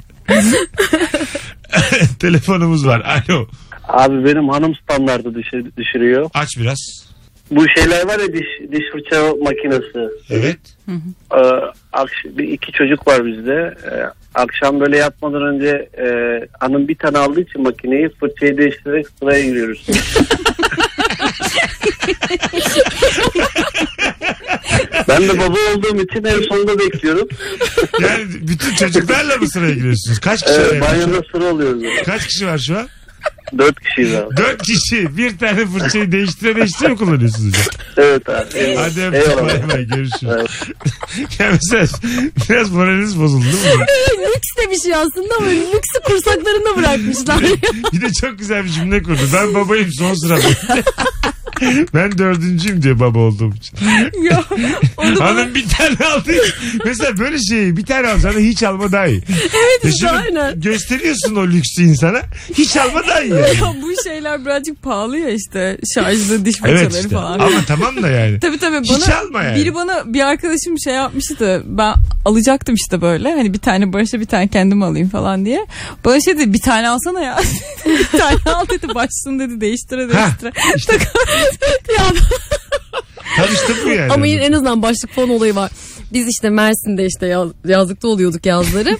Speaker 2: (laughs) Telefonumuz var. Alo.
Speaker 14: Abi benim hanım standartı düşür- düşürüyor.
Speaker 2: Aç biraz.
Speaker 14: Bu şeyler var ya diş, diş fırça makinesi.
Speaker 2: Evet.
Speaker 14: Ee, akş- bir iki çocuk var bizde. Ee, akşam böyle yatmadan önce e, hanım bir tane aldığı için makineyi fırçayı değiştirerek sıraya giriyoruz.
Speaker 2: (laughs)
Speaker 14: ben de baba olduğum için en sonunda bekliyorum.
Speaker 2: Yani bütün çocuklarla mı sıraya giriyorsunuz? Kaç kişi var?
Speaker 14: Ee,
Speaker 2: yani?
Speaker 14: banyoda sıra oluyoruz.
Speaker 2: Kaç kişi var şu an?
Speaker 14: Dört kişiyiz abi.
Speaker 2: Dört kişi. Bir tane fırçayı değiştire değiştire mi kullanıyorsunuz? hocam?
Speaker 14: Evet abi. eyvallah.
Speaker 2: Hadi
Speaker 14: Eyvallah.
Speaker 2: öptüm. Bay bay. Görüşürüz. (laughs) ya mesela biraz moraliniz bozuldu değil mi?
Speaker 4: lüks de bir şey aslında ama lüksü kursaklarında bırakmışlar.
Speaker 2: Bir de çok güzel bir cümle kurdu. Ben babayım son sırada. (laughs) ben dördüncüyüm diye baba olduğum için.
Speaker 3: Ya, onu
Speaker 2: Hanım bir tane aldı. Mesela böyle şeyi bir tane alsana hiç alma daha iyi.
Speaker 3: Evet
Speaker 2: Ya
Speaker 3: işte
Speaker 2: şimdi
Speaker 3: aynen.
Speaker 2: Gösteriyorsun o lüksü insana. Hiç alma daha iyi.
Speaker 3: (laughs)
Speaker 2: yani.
Speaker 3: ya bu şeyler birazcık pahalı ya işte şarjlı diş fırçaları
Speaker 2: Evet işte.
Speaker 3: falan.
Speaker 2: Ama tamam da yani.
Speaker 3: Tabii tabii bana
Speaker 2: Hiç alma yani.
Speaker 3: biri bana bir arkadaşım şey yapmıştı. Ben alacaktım işte böyle. Hani bir tane Barış'a bir tane kendim alayım falan diye. Bana şey dedi bir tane alsana ya. (laughs) bir tane al dedi başsın dedi değiştire değiştire.
Speaker 2: Tanıştın mı yani?
Speaker 4: Ama yine en azından başlık fon olayı var. Biz işte Mersin'de işte yaz- yazlıkta oluyorduk yazları.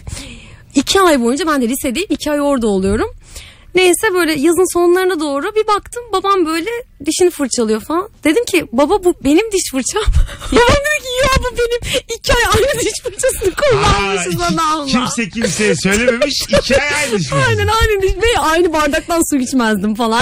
Speaker 4: iki ay boyunca ben de lisedeyim iki ay orada oluyorum. Neyse böyle yazın sonlarına doğru bir baktım babam böyle dişini fırçalıyor falan. Dedim ki baba bu benim diş fırçam. (laughs) babam dedi ki ya bu benim iki ay aynı diş fırçasını kullanmışız
Speaker 2: Aa,
Speaker 4: Allah Allah.
Speaker 2: Kimse kimseye söylememiş. İki ay aynı şey.
Speaker 4: (laughs) Aynen aynı diş ve aynı bardaktan su içmezdim falan.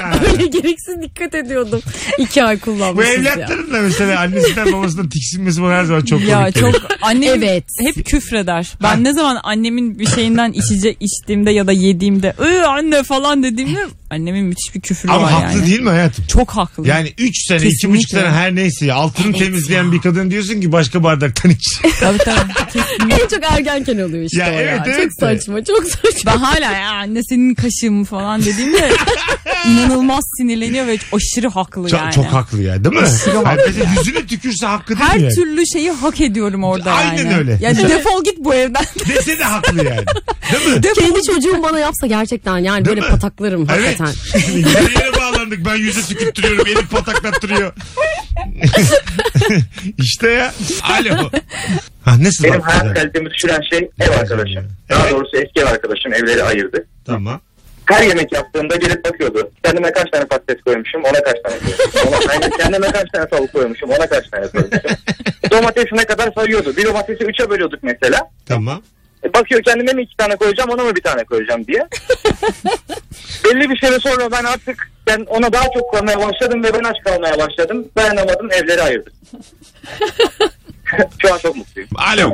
Speaker 4: Yani. Öyle gereksiz dikkat ediyordum. İki ay
Speaker 2: Bu
Speaker 4: kullanmışız ya.
Speaker 2: evlatların da mesela annesinden babasından tiksinmesi bana her zaman çok komik.
Speaker 3: ya
Speaker 2: geliyor.
Speaker 3: çok annem hep küfreder. Ben ne zaman annemin bir şeyinden içecek içtiğimde ya da yediğimde "Iı, anne falan dediğimde annemin müthiş bir küfrü
Speaker 2: Ama
Speaker 3: var
Speaker 2: haklı
Speaker 3: yani.
Speaker 2: değil mi hayatım?
Speaker 3: Çok haklı.
Speaker 2: Yani 3 sene,
Speaker 3: Kesinlikle.
Speaker 2: 2,5 sene her neyse ya, altını
Speaker 3: Evet
Speaker 2: temizleyen bir kadın diyorsun ki başka bardaktan iç.
Speaker 3: Tabii tabii.
Speaker 4: en çok ergenken oluyor işte
Speaker 2: Ya
Speaker 4: o
Speaker 2: evet,
Speaker 4: ya.
Speaker 2: evet
Speaker 4: Çok
Speaker 2: de.
Speaker 4: saçma çok saçma.
Speaker 3: Ben hala ya anne senin kaşığın mı falan
Speaker 2: (laughs)
Speaker 3: dediğimde inanılmaz sinirleniyor ve aşırı haklı
Speaker 2: Çok,
Speaker 3: yani.
Speaker 2: çok haklı ya değil mi?
Speaker 3: Aşırı
Speaker 2: Yani
Speaker 3: haklı
Speaker 2: mesela
Speaker 3: ya.
Speaker 2: yüzüne tükürse hakkı değil
Speaker 3: Her
Speaker 2: mi yani?
Speaker 3: türlü şeyi hak ediyorum orada
Speaker 2: Aynen
Speaker 3: yani.
Speaker 2: öyle.
Speaker 3: Ya defol git bu evden.
Speaker 2: Dese de haklı yani.
Speaker 4: Kendi çocuğum bana yapsa gerçekten yani böyle pataklarım
Speaker 2: Evet.
Speaker 4: hakikaten.
Speaker 2: Güzel yere bağlandık. Ben yüze tükürttürüyorum. Elif pataklattırıyor. (laughs) işte ya. Alo. Ha, nasıl
Speaker 15: Benim
Speaker 2: baktın
Speaker 15: hayat
Speaker 2: ya?
Speaker 15: kalitemi düşüren şey ev arkadaşım. Daha doğrusu eski ev arkadaşım evleri ayırdı.
Speaker 2: Tamam.
Speaker 15: Her yemek yaptığımda gelip bakıyordu. Kendime kaç tane patates koymuşum, ona kaç tane koymuşum. Ona, aynı kendime kaç tane tavuk koymuşum, ona kaç tane koymuşum. Domatesi ne kadar sayıyordu. Bir domatesi üçe bölüyorduk mesela.
Speaker 2: Tamam.
Speaker 15: E, Bakıyor kendime mi iki tane koyacağım, ona mı bir tane koyacağım diye. Belli bir süre sonra ben artık ben ona daha çok koymaya başladım ve ben aç kalmaya başladım. Dayanamadım, evleri ayırdım. (laughs) Şu an çok mutluyum.
Speaker 2: Alo.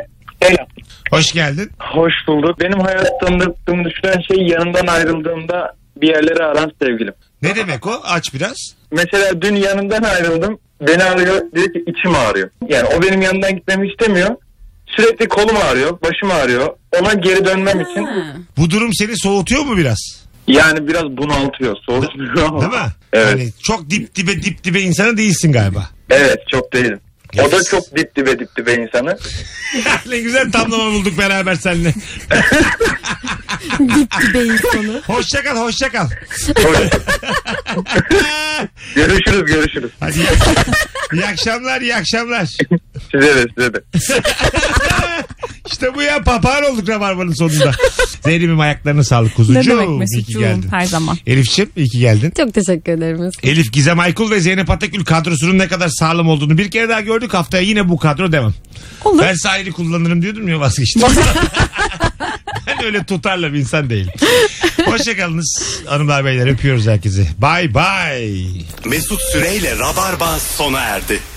Speaker 2: Hoş geldin.
Speaker 16: Hoş bulduk. Benim hayatımda düşüren şey yanından ayrıldığımda bir yerlere aran sevgilim.
Speaker 2: Ne demek o? Aç biraz.
Speaker 16: Mesela dün yanından ayrıldım. Beni arıyor. Diyor ki içim ağrıyor. Yani o benim yanından gitmemi istemiyor. Sürekli kolum ağrıyor. Başım ağrıyor. Ona geri dönmem için
Speaker 2: Bu durum seni soğutuyor mu biraz?
Speaker 16: yani biraz bunaltıyor. Soğutmuyor ama.
Speaker 2: Değil mi?
Speaker 16: Evet.
Speaker 2: Hani çok dip dibe dip dibe insanı değilsin galiba. (laughs)
Speaker 15: Evet, çok değilim. O da çok dip dibe dip dibe insanı.
Speaker 2: ne güzel tamlama bulduk beraber seninle.
Speaker 4: Dip dibe insanı.
Speaker 2: Hoşça kal, hoşça kal. (laughs)
Speaker 15: Görüşürüz, görüşürüz.
Speaker 2: Hadi. iyi akşamlar, iyi akşamlar.
Speaker 15: Size de, size de.
Speaker 2: İşte bu ya papağan olduk Rabarba'nın
Speaker 3: (laughs)
Speaker 2: sonunda. Zeynep'im ayaklarına sağlık kuzucuğum.
Speaker 3: Ne demek
Speaker 2: İyi ki
Speaker 3: Mesut'cuğum
Speaker 2: geldin.
Speaker 3: her zaman.
Speaker 2: Elif'ciğim iyi ki geldin.
Speaker 4: Çok teşekkür ederim. Mesut.
Speaker 2: Elif Gizem Aykul ve Zeynep Atakül kadrosunun ne kadar sağlam olduğunu bir kere daha gördük. Haftaya yine bu kadro devam.
Speaker 3: Olur.
Speaker 2: Ben sahili kullanırım diyordum ya vazgeçtim. ben öyle tutarla bir insan değilim. Hoşçakalınız hanımlar beyler öpüyoruz herkesi. Bay bay.
Speaker 1: Mesut Süreyle Rabarba sona erdi.